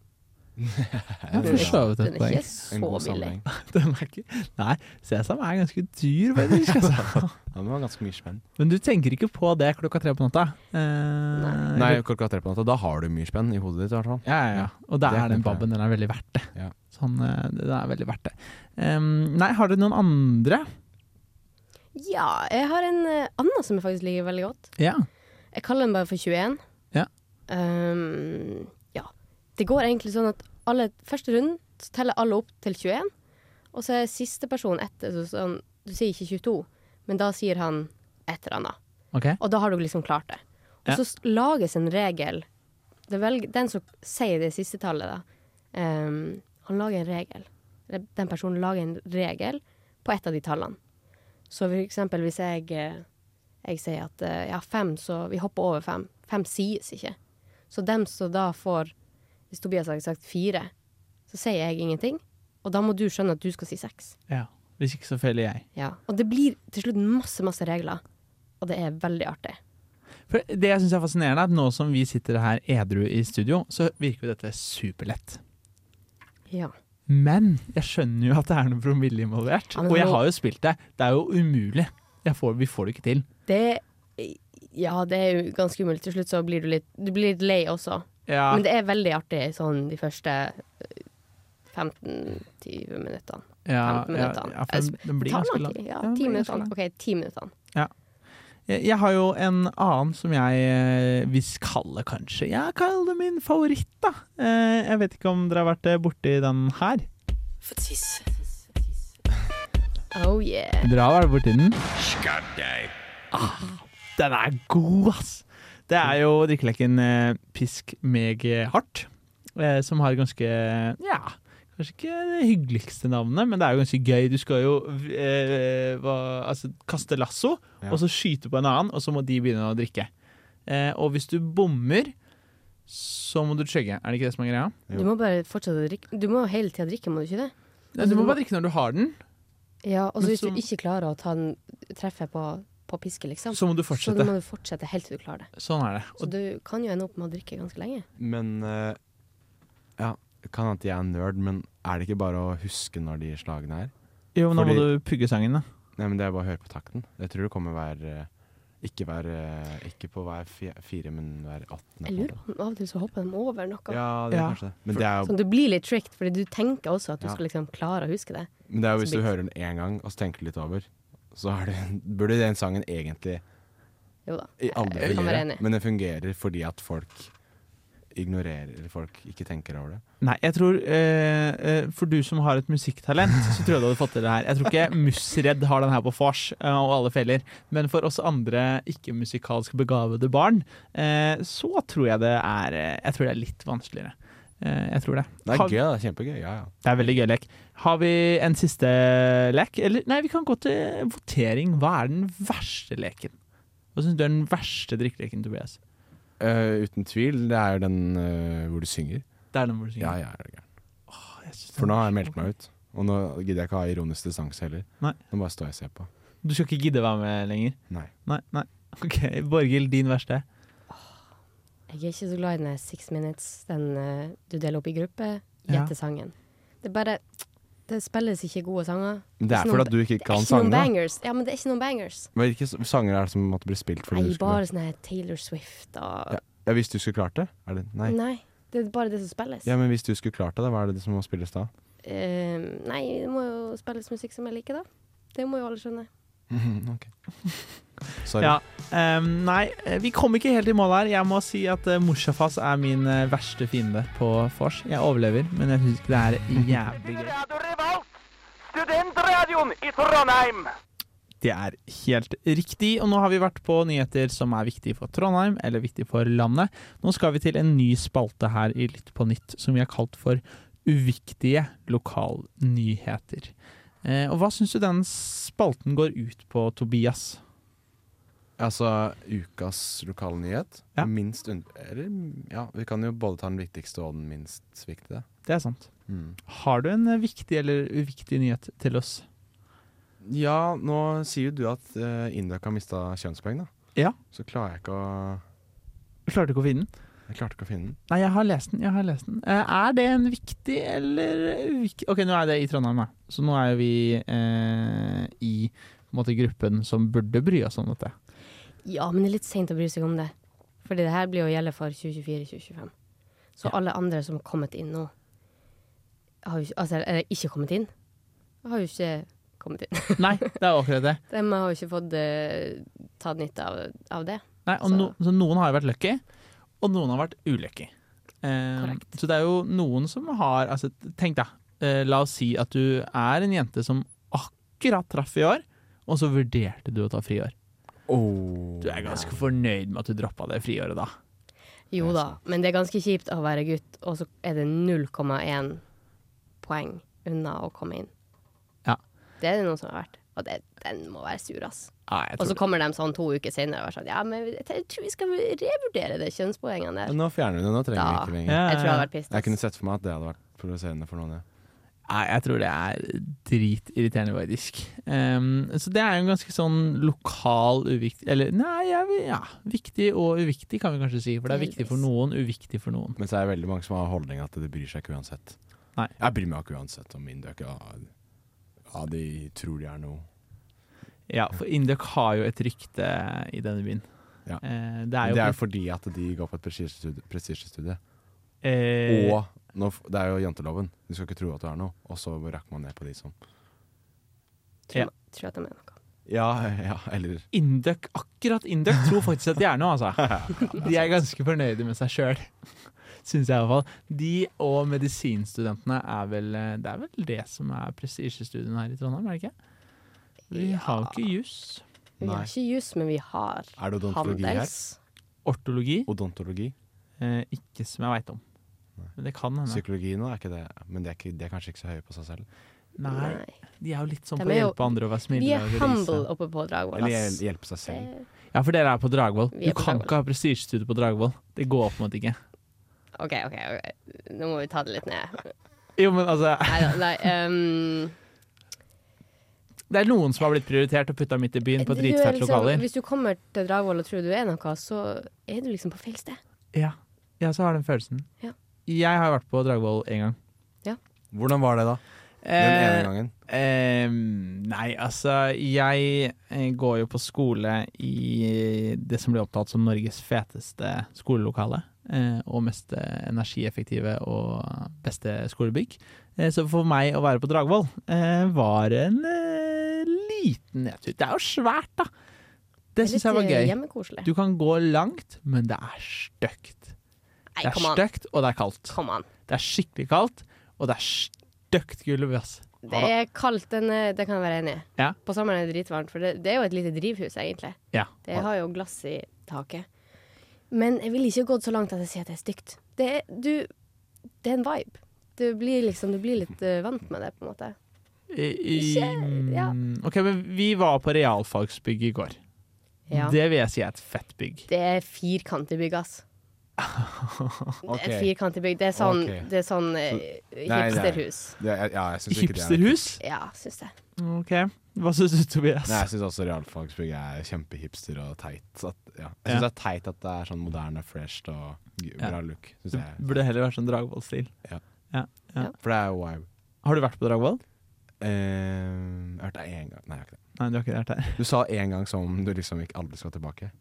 [SPEAKER 8] Ja, for så vidt et
[SPEAKER 9] Den er
[SPEAKER 8] poeng.
[SPEAKER 9] ikke så billig.
[SPEAKER 8] Den er ikke Nei, sesam er ganske dyr, faktisk. Altså.
[SPEAKER 10] Ja, men det var ganske mye spenn.
[SPEAKER 8] Men du tenker ikke på det klokka tre på natta? Eh,
[SPEAKER 10] Nei, klokka tre på natta, da har du mye spenn i hodet ditt i hvert fall.
[SPEAKER 8] Ja, ja, ja. Og der
[SPEAKER 10] Det er
[SPEAKER 8] er den
[SPEAKER 10] ikke noe
[SPEAKER 8] babben, den er veldig verdt det.
[SPEAKER 10] Ja.
[SPEAKER 8] Sånn, eh, den er veldig verdt det. Em, nei, har dere noen andre?
[SPEAKER 9] Ja, jeg har en eh, annen som jeg faktisk liker veldig godt.
[SPEAKER 8] Ja.
[SPEAKER 9] Jeg kaller den bare for 21.
[SPEAKER 8] Ja.
[SPEAKER 9] Ehm, ja. Det går egentlig sånn at alle, første runden så teller alle opp til 21, og så er siste person etter så sånn Du sier ikke 22, men da sier han et eller annet.
[SPEAKER 8] Ok.
[SPEAKER 9] Og da har du liksom klart det. Og
[SPEAKER 8] Ja.
[SPEAKER 9] så s- lages en regel. Det velg, den som sier det siste tallet, da, ehm, han lager en regel. Eller Den personen lager en regel på ett av de tallene. Så for eksempel hvis jeg, eh, jeg sier at eh, ja, fem, så vi hopper over fem. Fem sies ikke. Så dem som da får Hvis Tobias hadde sagt fire, så sier jeg ingenting. Og da må du skjønne at du skal si seks.
[SPEAKER 8] Ja. Hvis ikke, så feiler jeg.
[SPEAKER 9] Ja. Og det blir til slutt masse, masse regler. Og det er veldig artig.
[SPEAKER 8] For det jeg syns er fascinerende, er at nå som vi sitter her edru i studio, så virker jo dette superlett.
[SPEAKER 9] Ja.
[SPEAKER 8] Men jeg skjønner jo at det er noe promille involvert.
[SPEAKER 9] men
[SPEAKER 8] og jeg
[SPEAKER 9] nå-
[SPEAKER 8] har jo spilt det. Det er jo umulig. Jeg får, vi får det ikke til.
[SPEAKER 9] Det Ja, det er jo ganske umulig. Til slutt så blir du litt Du blir litt lei også.
[SPEAKER 8] Ja.
[SPEAKER 9] Men det er veldig artig sånn de første eh, 15-20 minuttene.
[SPEAKER 8] Ja, ja,
[SPEAKER 9] 15 minuttene.
[SPEAKER 8] ja, for den- den blir
[SPEAKER 9] Det tar
[SPEAKER 8] ganske
[SPEAKER 9] lang
[SPEAKER 8] lang.
[SPEAKER 9] tid.
[SPEAKER 8] Ja,
[SPEAKER 9] Ja,
[SPEAKER 8] den
[SPEAKER 9] 10
[SPEAKER 8] blir ganske
[SPEAKER 9] minuttene. OK, 10 minuttene.
[SPEAKER 8] Ja. Jeg, jeg har jo en annen som jeg eh, vil kalle kanskje Jeg kaller det min favoritt, da. Eh, jeg vet ikke om dere har vært eh, borti den her.
[SPEAKER 9] Oh yeah.
[SPEAKER 8] Dere har vært borti den?
[SPEAKER 14] Skam deg.
[SPEAKER 8] Ah, Den er god, ass! Det er jo drikkeleken eh, Pisk meg hardt, eh, som har ganske Ja, kanskje ikke det hyggeligste navnet, men det er jo ganske gøy. Du skal jo eh, hva, altså, kaste lasso,
[SPEAKER 10] Ja.
[SPEAKER 8] og så skyte på en annen, og så må de begynne å drikke. Eh, og hvis du bommer, så må du chugge. Er det ikke det som er greia?
[SPEAKER 9] Du må bare fortsette å drikke. Du må jo hele tida drikke, må du ikke det?
[SPEAKER 8] Ja, du må bare drikke når du har den.
[SPEAKER 9] Ja, og
[SPEAKER 8] Men
[SPEAKER 9] så hvis
[SPEAKER 8] så-
[SPEAKER 9] du ikke klarer å ta den treffet på, på piske, liksom,
[SPEAKER 8] Så må du fortsette.
[SPEAKER 9] Så må du fortsette helt til du klarer det.
[SPEAKER 8] Sånn er det.
[SPEAKER 9] Så du kan jo ende opp med å drikke ganske lenge.
[SPEAKER 10] Men eh, ja, kan hende jeg er nerd, men er det ikke bare å huske når de slagene er?
[SPEAKER 8] Jo, men da må
[SPEAKER 10] Fordi-
[SPEAKER 8] du pugge sangen, da.
[SPEAKER 10] Nei, men det er bare å høre på takten. Jeg tror det kommer hver eh, Ikke, hver, eh, ikke på hver fi- fire, men hver åttende.
[SPEAKER 9] Jeg lurer på om av og til så hopper de over noe.
[SPEAKER 10] Ja, det er kanskje det. Men det er jo-
[SPEAKER 9] Sånn, du blir litt tricked, fordi du tenker også at du
[SPEAKER 10] Ja.
[SPEAKER 9] skal liksom klare å huske det.
[SPEAKER 10] Men det er jo
[SPEAKER 9] Så
[SPEAKER 10] hvis du
[SPEAKER 9] blir-
[SPEAKER 10] hører den én gang, og så tenker du litt over, så er det, burde den sangen egentlig
[SPEAKER 9] Jo da,
[SPEAKER 10] i alle
[SPEAKER 9] jeg kan være
[SPEAKER 10] fungere.
[SPEAKER 9] enig.
[SPEAKER 10] Men den fungerer fordi at folk ignorerer eller folk, ikke tenker over det.
[SPEAKER 8] Nei, jeg tror eh, eh, For du som har et musikktalent, så tror jeg du hadde fått til det her. Jeg tror ikke Mussredd har den her på vors, eh, og alle feller. Men for oss andre ikke-musikalsk begavede barn, eh, så tror jeg det er eh, Jeg tror det er litt vanskeligere. Eh, jeg tror det.
[SPEAKER 10] Det er
[SPEAKER 8] Har-
[SPEAKER 10] gøy, det er kjempegøy. Ja, ja.
[SPEAKER 8] Det er veldig gøy lek. Har vi en siste lek? Eller nei, vi kan gå til votering. Hva er den verste leken? Hva syns du er den verste drikkeleken, Tobias?
[SPEAKER 10] Eh, uten tvil, det er jo den eh, hvor du synger.
[SPEAKER 8] Det er den hvor du synger.
[SPEAKER 10] Ja, ja, er det gæren. For nå har jeg meldt meg ut. Og nå gidder jeg ikke ha ironisk distanse heller.
[SPEAKER 8] Nei.
[SPEAKER 10] Nå bare står jeg og ser på.
[SPEAKER 8] Du skal ikke gidde å være med lenger?
[SPEAKER 10] Nei.
[SPEAKER 8] Nei, nei. Ok, Borghild, din verste.
[SPEAKER 9] Jeg er ikke så glad i den der Six Minutes, den eh, du deler opp i gruppe.
[SPEAKER 10] Ja.
[SPEAKER 9] Gjette sangen. Det er bare Det spilles ikke gode sanger.
[SPEAKER 10] Men det er
[SPEAKER 9] ikke
[SPEAKER 10] fordi
[SPEAKER 9] noen-
[SPEAKER 10] at du ikke
[SPEAKER 9] det er
[SPEAKER 10] kan
[SPEAKER 9] Noen
[SPEAKER 10] sangene.
[SPEAKER 9] bangers. Ja, men det er ikke noen bangers.
[SPEAKER 10] Hvilke s- sanger er det som måtte bli spilt? For
[SPEAKER 9] Nei,
[SPEAKER 10] du skulle-
[SPEAKER 9] bare sånn her Taylor Swift og
[SPEAKER 10] ja. ja, Hvis du skulle klart det? Er det? Nei.
[SPEAKER 9] nei. Det er bare det som spilles.
[SPEAKER 10] Ja, Men hvis du skulle klart det, da, hva er det som må spilles da?
[SPEAKER 9] Eh, nei, det må jo spilles musikk som jeg liker, da. Det må jo alle skjønne.
[SPEAKER 10] Sorry.
[SPEAKER 8] Ja, ehm, nei, vi kom ikke helt i mål her. Jeg må si at eh, Morsafas er min eh, verste fiende på vors. Jeg overlever, men jeg syns ikke det er jævlig gøy.
[SPEAKER 15] Studentradioen i Trondheim.
[SPEAKER 8] Det er helt riktig, og nå har vi vært på nyheter som er viktige for Trondheim, eller viktige for landet. Nå skal vi til en ny spalte her i Litt på nytt, som vi har kalt for Uviktige lokalnyheter. Eh, og hva syns du den spalten går ut på, Tobias?
[SPEAKER 10] Altså ukas lokalnyhet. Minst und... Eller ja, vi kan jo både ta den viktigste og den minst viktige.
[SPEAKER 8] Det er sant.
[SPEAKER 10] Mm.
[SPEAKER 8] Har du en eh, viktig eller uviktig nyhet til oss?
[SPEAKER 10] Ja, nå sier jo du at uh, Indøk har mista kjønnspoeng, da.
[SPEAKER 8] Ja.
[SPEAKER 10] Så klarer jeg ikke å
[SPEAKER 8] Klarte ikke å finne den?
[SPEAKER 10] Jeg klarte ikke å finne den.
[SPEAKER 8] Nei, jeg har lest den. jeg har lest den. Eh, Er det en viktig eller uviktig Ok, nå er det i Trondheim, da. Så nå er jo vi eh, i på en måte, gruppen som burde bry oss om dette.
[SPEAKER 9] Ja, men det er litt seint å bry seg om det. Fordi det her blir jo å gjelde for 2024-2025. Så alle andre som har kommet inn nå, har jo ikke Altså, eller ikke kommet inn, har jo ikke kommet inn.
[SPEAKER 8] Nei, det er akkurat det.
[SPEAKER 9] De har jo ikke fått eh, tatt nytte av, av det.
[SPEAKER 8] Nei, og no, så noen har jo vært lucky, og noen har vært ulycky. Eh, så det er jo noen som har altså, Tenk da, eh, la oss si at du er en jente som akkurat traff i år, og så vurderte du å ta friår.
[SPEAKER 10] Oh.
[SPEAKER 8] Du er ganske fornøyd med at du droppa det friåret, da.
[SPEAKER 9] Jo da, men det er ganske kjipt å være gutt, og så er det 0,1 poeng unna å komme inn.
[SPEAKER 8] Ja.
[SPEAKER 9] Det er det noen som har vært. Og det, den må være sur, ass.
[SPEAKER 8] Ja, jeg
[SPEAKER 9] Og
[SPEAKER 8] tror
[SPEAKER 9] så kommer de sånn to uker senere og er sånn Ja, men jeg tror vi skal revurdere det kjønnspoengene
[SPEAKER 10] Men
[SPEAKER 9] der.
[SPEAKER 10] Nå fjerner vi det. Nå trenger
[SPEAKER 9] Da.
[SPEAKER 10] vi ikke lenger.
[SPEAKER 9] Ja, Jeg tror jeg hadde vært pissed,
[SPEAKER 10] Jeg kunne sett for meg at det hadde vært provoserende for noen. ja.
[SPEAKER 8] Nei, jeg tror det er dritirriterende, faktisk. Ehm, så det er jo en ganske sånn lokal uviktig Eller nei, jeg, vil- ja, viktig og uviktig kan vi kanskje si. For det er viktig for noen, uviktig for noen.
[SPEAKER 10] Men så er det veldig mange som har holdning at det bryr seg ikke uansett.
[SPEAKER 8] Nei.
[SPEAKER 10] Jeg bryr meg ikke uansett om Indøk ja, ja, de tror de er noe.
[SPEAKER 8] Ja, for Indøk har jo et rykte i denne byen.
[SPEAKER 10] Ja.
[SPEAKER 8] Eh, det er
[SPEAKER 10] Men
[SPEAKER 8] jo
[SPEAKER 10] Det er jo fordi at de går på et prestisjestudie. prestisjestudie.
[SPEAKER 8] Eh.
[SPEAKER 10] Og nå, f- det er jo janteloven. Du skal ikke tro at du er noe. Og så rakker man ned på de som
[SPEAKER 9] Tror, tror at de er noe.
[SPEAKER 10] Ja, ja, eller
[SPEAKER 8] Indøk, akkurat Indøk tror faktisk at de er noe, altså. De er ganske fornøyde med seg sjøl, syns jeg iallfall. De og medisinstudentene er vel eh, Det er vel det som er prestisjestudiene her i Trondheim, er det ikke? Vi har jo ikke juss.
[SPEAKER 9] Vi har ikke juss, men vi har
[SPEAKER 10] Er det odontologi her?
[SPEAKER 9] handels.
[SPEAKER 8] Ortologi?
[SPEAKER 10] Odontologi?
[SPEAKER 8] Eh, ikke som jeg veit om. Men det kan hende.
[SPEAKER 10] Psykologi nå er ikke det, men de er, ikke, de er kanskje ikke så høye på seg selv.
[SPEAKER 8] Nei. De er jo litt sånn
[SPEAKER 9] De
[SPEAKER 8] på å
[SPEAKER 9] er jo-
[SPEAKER 8] hjelpe andre og være
[SPEAKER 9] Vi
[SPEAKER 8] snille.
[SPEAKER 9] er
[SPEAKER 8] og vise.
[SPEAKER 9] humble oppe på Dragvoll,
[SPEAKER 10] Eller
[SPEAKER 9] ass. Eh.
[SPEAKER 10] hjel- hjelpe seg selv.
[SPEAKER 8] Ja, for dere er på Dragvoll.
[SPEAKER 9] Vi
[SPEAKER 8] Du
[SPEAKER 9] er på
[SPEAKER 8] kan
[SPEAKER 9] Dragvoll.
[SPEAKER 8] ikke ha prestisjestudie på Dragvoll. Det går på en måte ikke.
[SPEAKER 9] OK, OK, ok. nå må vi ta det litt ned.
[SPEAKER 8] Jo, men altså
[SPEAKER 9] Nei da, nei. ehm,
[SPEAKER 8] Det er noen som har blitt prioritert og putta midt i byen på
[SPEAKER 9] du er
[SPEAKER 8] dritfette
[SPEAKER 9] liksom-
[SPEAKER 8] lokaler.
[SPEAKER 9] Hvis du kommer til Dragvoll og tror du er noe, så er du liksom på feil sted.
[SPEAKER 8] Ja, ja så har den følelsen.
[SPEAKER 9] Ja.
[SPEAKER 8] Jeg har vært på Dragvoll én gang.
[SPEAKER 9] Ja.
[SPEAKER 10] Hvordan var det, da? Den
[SPEAKER 9] Eh,
[SPEAKER 10] ene gangen?
[SPEAKER 8] Eh, nei, altså Jeg eh, går jo på skole i det som blir opptalt som Norges feteste skolelokale. eh, Og mest eh, energieffektive og beste skolebygg. Eh, Så for meg å være på Dragvoll eh, var en eh, liten nedtur. Det er jo svært, da! Det
[SPEAKER 9] Det er
[SPEAKER 8] syns
[SPEAKER 9] litt,
[SPEAKER 8] jeg var
[SPEAKER 9] eh,
[SPEAKER 8] gøy.
[SPEAKER 9] hjemmekoselig.
[SPEAKER 8] Du kan gå langt, men det er stygt. Det er
[SPEAKER 13] come on.
[SPEAKER 8] stygt, og det er kaldt.
[SPEAKER 9] Come on.
[SPEAKER 8] Det er skikkelig kaldt, og det er stygt gulv, ass.
[SPEAKER 9] Det er kaldt, den, eh, det kan jeg være enig i.
[SPEAKER 8] Ja.
[SPEAKER 9] På sommeren er det dritvarmt, for det, det er jo et lite drivhus, egentlig.
[SPEAKER 8] Ja.
[SPEAKER 9] Det har jo glass i taket. Men jeg ville ikke gått så langt at jeg sier at det er stygt. Det er, du, det er en vibe. Du blir liksom, du blir litt eh, vant med det, på en måte.
[SPEAKER 8] Ikke ja. mm, OK, men vi var på realfagsbygg i går.
[SPEAKER 9] Ja.
[SPEAKER 8] Det vil jeg si er et fett bygg.
[SPEAKER 9] Det er firkantig bygg, ass. Det er et firkantig bygg. Det er sånn,
[SPEAKER 10] Ok.
[SPEAKER 9] det er sånn eh,
[SPEAKER 10] Nei, det er-
[SPEAKER 9] hipsterhus.
[SPEAKER 10] det er- Ja, jeg syns ikke det. er-
[SPEAKER 8] Hipsterhus?
[SPEAKER 9] Ja, syns jeg.
[SPEAKER 8] OK. Hva syns du, Tobias?
[SPEAKER 10] Nei, jeg syns også realfagsbygg er kjempehipster og teit. Så at, ja. Jeg
[SPEAKER 8] Ja.
[SPEAKER 10] syns det er teit at det er sånn moderne, fresh og g-
[SPEAKER 8] Ja.
[SPEAKER 10] bra look. Synes
[SPEAKER 8] Det
[SPEAKER 10] jeg.
[SPEAKER 8] burde heller vært sånn Dragvoll-stil.
[SPEAKER 10] Ja.
[SPEAKER 8] Ja, ja.
[SPEAKER 10] For det er jo wow.
[SPEAKER 8] Har du vært på Dragvoll?
[SPEAKER 10] Ehm, jeg har hørt deg én gang. Nei, jeg har ikke det.
[SPEAKER 8] Nei, du har ikke vært der.
[SPEAKER 10] Du sa én gang som du liksom ikke aldri skal tilbake.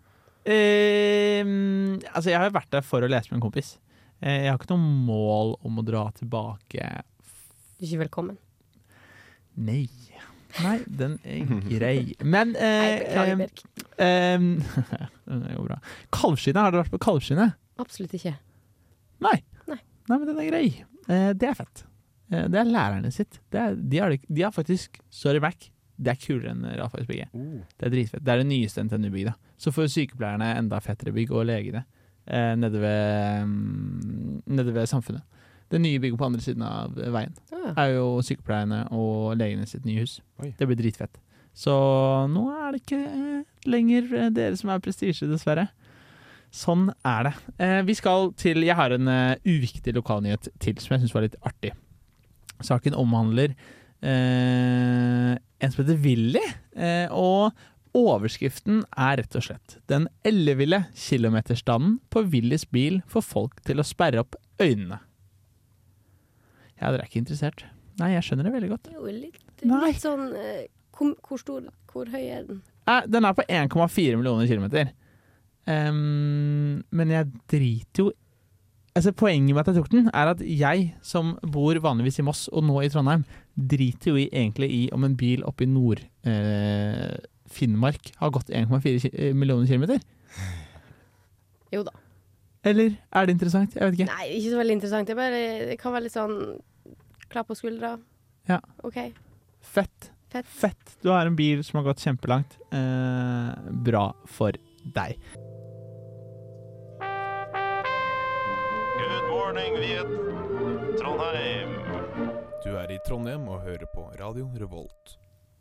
[SPEAKER 8] Ehm, altså, jeg har jo vært der for å lese med en kompis. Eh, Jeg har ikke noe mål om å dra tilbake.
[SPEAKER 9] Du er ikke velkommen.
[SPEAKER 8] Nei. Nei, den er grei. Men eh,
[SPEAKER 9] Nei, beklager,
[SPEAKER 8] ehm,
[SPEAKER 9] Birk.
[SPEAKER 8] ehm, Det går bra. Kalvskinnet, har dere vært på Kalvskinnet?
[SPEAKER 9] Absolutt ikke.
[SPEAKER 8] Nei.
[SPEAKER 9] Nei.
[SPEAKER 8] men den er grei. Eh, det er fett. Eh, det er lærerne sitt. Det er, de, har, det- de har faktisk Sorry Mac. Det er kulere enn Rafaelsbygget.
[SPEAKER 10] Oh.
[SPEAKER 8] Det er dritfett. Det er det nyeste NTNU-bygget. da. Så får sykepleierne enda fettere bygg, og legene eh, nede, ved, mm, nede ved samfunnet. Det nye bygget på andre siden av veien
[SPEAKER 9] Ah.
[SPEAKER 8] er jo sykepleierne og legene sitt nye hus.
[SPEAKER 10] Oi.
[SPEAKER 8] Det blir dritfett. Så nå er det ikke eh, lenger eh, dere som er prestisje, dessverre. Sånn er det. Eh, vi skal til Jeg har en eh, uviktig lokalnyhet til som jeg syns var litt artig. Saken omhandler eh, en som heter Willy, eh, og overskriften er rett og slett 'Den elleville kilometerstanden på Willys bil får folk til å sperre opp øynene'. Ja, dere er ikke interessert? Nei, jeg skjønner det veldig godt.
[SPEAKER 9] Jo, litt,
[SPEAKER 8] Nei.
[SPEAKER 9] litt sånn eh, kom, Hvor stor Hvor høy er den?
[SPEAKER 8] Nei, den er på 1,4 millioner kilometer. Ehm, men jeg driter jo Altså Poenget med at jeg tok den, er at jeg, som bor vanligvis i Moss og nå i Trondheim, driter jo i, egentlig i om en bil oppe i Nord-Finnmark har gått 1,4 ki- eh, millioner kilometer.
[SPEAKER 9] Jo da.
[SPEAKER 8] Eller er det interessant? Jeg vet ikke.
[SPEAKER 9] Nei, ikke så veldig interessant. Det, er bare, det kan være litt sånn klapp på skuldra.
[SPEAKER 8] Ja.
[SPEAKER 9] OK.
[SPEAKER 8] Fett.
[SPEAKER 9] Fett.
[SPEAKER 8] Du har en bil som har gått kjempelangt. Eh, bra for deg.
[SPEAKER 15] Good morning, Viet. Trondheim.
[SPEAKER 16] Du er i Trondheim og hører på Radio Revolt.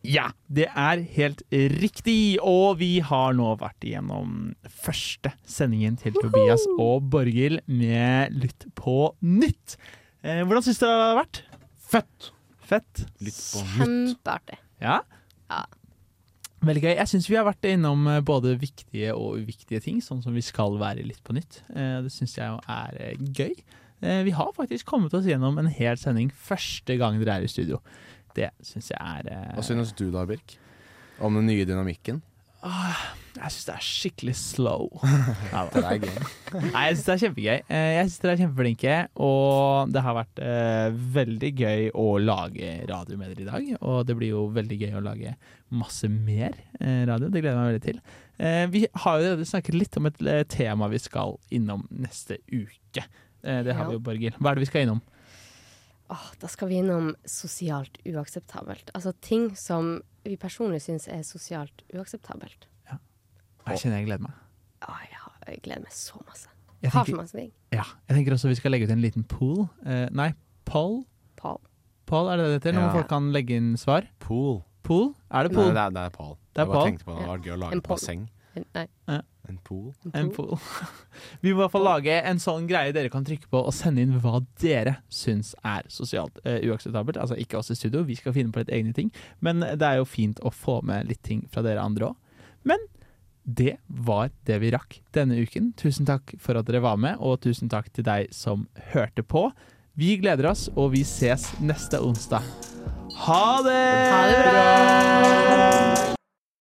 [SPEAKER 8] Ja, det er helt riktig! Og vi har nå vært igjennom første sendingen til Tobias og Borghild med Lytt på nytt. Eh, hvordan syns du det har vært? Fett. Fett. Lytt på
[SPEAKER 9] Kjempeartig.
[SPEAKER 8] Ja.
[SPEAKER 9] Ja.
[SPEAKER 8] Veldig gøy. Jeg syns vi har vært innom eh, både viktige og uviktige ting, sånn som vi skal være i Lytt på nytt. Eh, Det syns jeg jo er eh, gøy. Eh, Vi har faktisk kommet oss gjennom en hel sending første gang dere er i studio. Det syns jeg er eh,
[SPEAKER 10] Hva synes du da, Birk? Om den nye dynamikken?
[SPEAKER 8] Ah, Jeg syns det er skikkelig slow.
[SPEAKER 10] Det er gøy.
[SPEAKER 8] Nei, jeg syns det er kjempegøy. Eh, Jeg syns dere er kjempeflinke, og det har vært eh, veldig gøy å lage radio med dere i dag. Og det blir jo veldig gøy å lage masse mer eh, radio. Det gleder jeg meg veldig til. Eh, Vi har jo allerede snakket litt om et eh, tema vi skal innom neste uke. Eh, Det har
[SPEAKER 9] Ja.
[SPEAKER 8] vi jo, Borghild. Hva er det vi skal innom?
[SPEAKER 9] Åh, da skal vi innom sosialt uakseptabelt. Altså ting som vi personlig syns er sosialt uakseptabelt.
[SPEAKER 8] Jeg kjenner jeg gleder meg.
[SPEAKER 9] Åh, jeg, har, jeg gleder meg så masse.
[SPEAKER 8] Jeg
[SPEAKER 9] Jeg har
[SPEAKER 8] tenker-
[SPEAKER 9] så masse ting.
[SPEAKER 8] Ja, jeg tenker også vi skal legge ut en liten pool. Eh, nei, poll.
[SPEAKER 9] Poll.
[SPEAKER 8] er det det heter? Når
[SPEAKER 10] Ja.
[SPEAKER 8] folk kan legge inn svar?
[SPEAKER 10] Pool.
[SPEAKER 8] Pool? Er det pool?
[SPEAKER 10] Nei, det er, det er Paul.
[SPEAKER 8] Det er
[SPEAKER 10] jeg bare
[SPEAKER 8] Paul.
[SPEAKER 10] tenkte på det. Det hadde vært gøy å lage
[SPEAKER 9] En
[SPEAKER 10] et
[SPEAKER 9] poll.
[SPEAKER 10] basseng.
[SPEAKER 9] En- Nei.
[SPEAKER 8] Ja.
[SPEAKER 10] En pool.
[SPEAKER 8] En pool. Vi må i hvert fall lage en sånn greie dere kan trykke på og sende inn hva dere syns er sosialt eh, uakseptabelt. Altså ikke oss i studio, vi skal finne på litt egne ting. Men det er jo fint å få med litt ting fra dere andre òg. Men det var det vi rakk denne uken. Tusen takk for at dere var med, og tusen takk til deg som hørte på. Vi gleder oss, og vi ses neste onsdag. Ha det!
[SPEAKER 13] Ha det bra!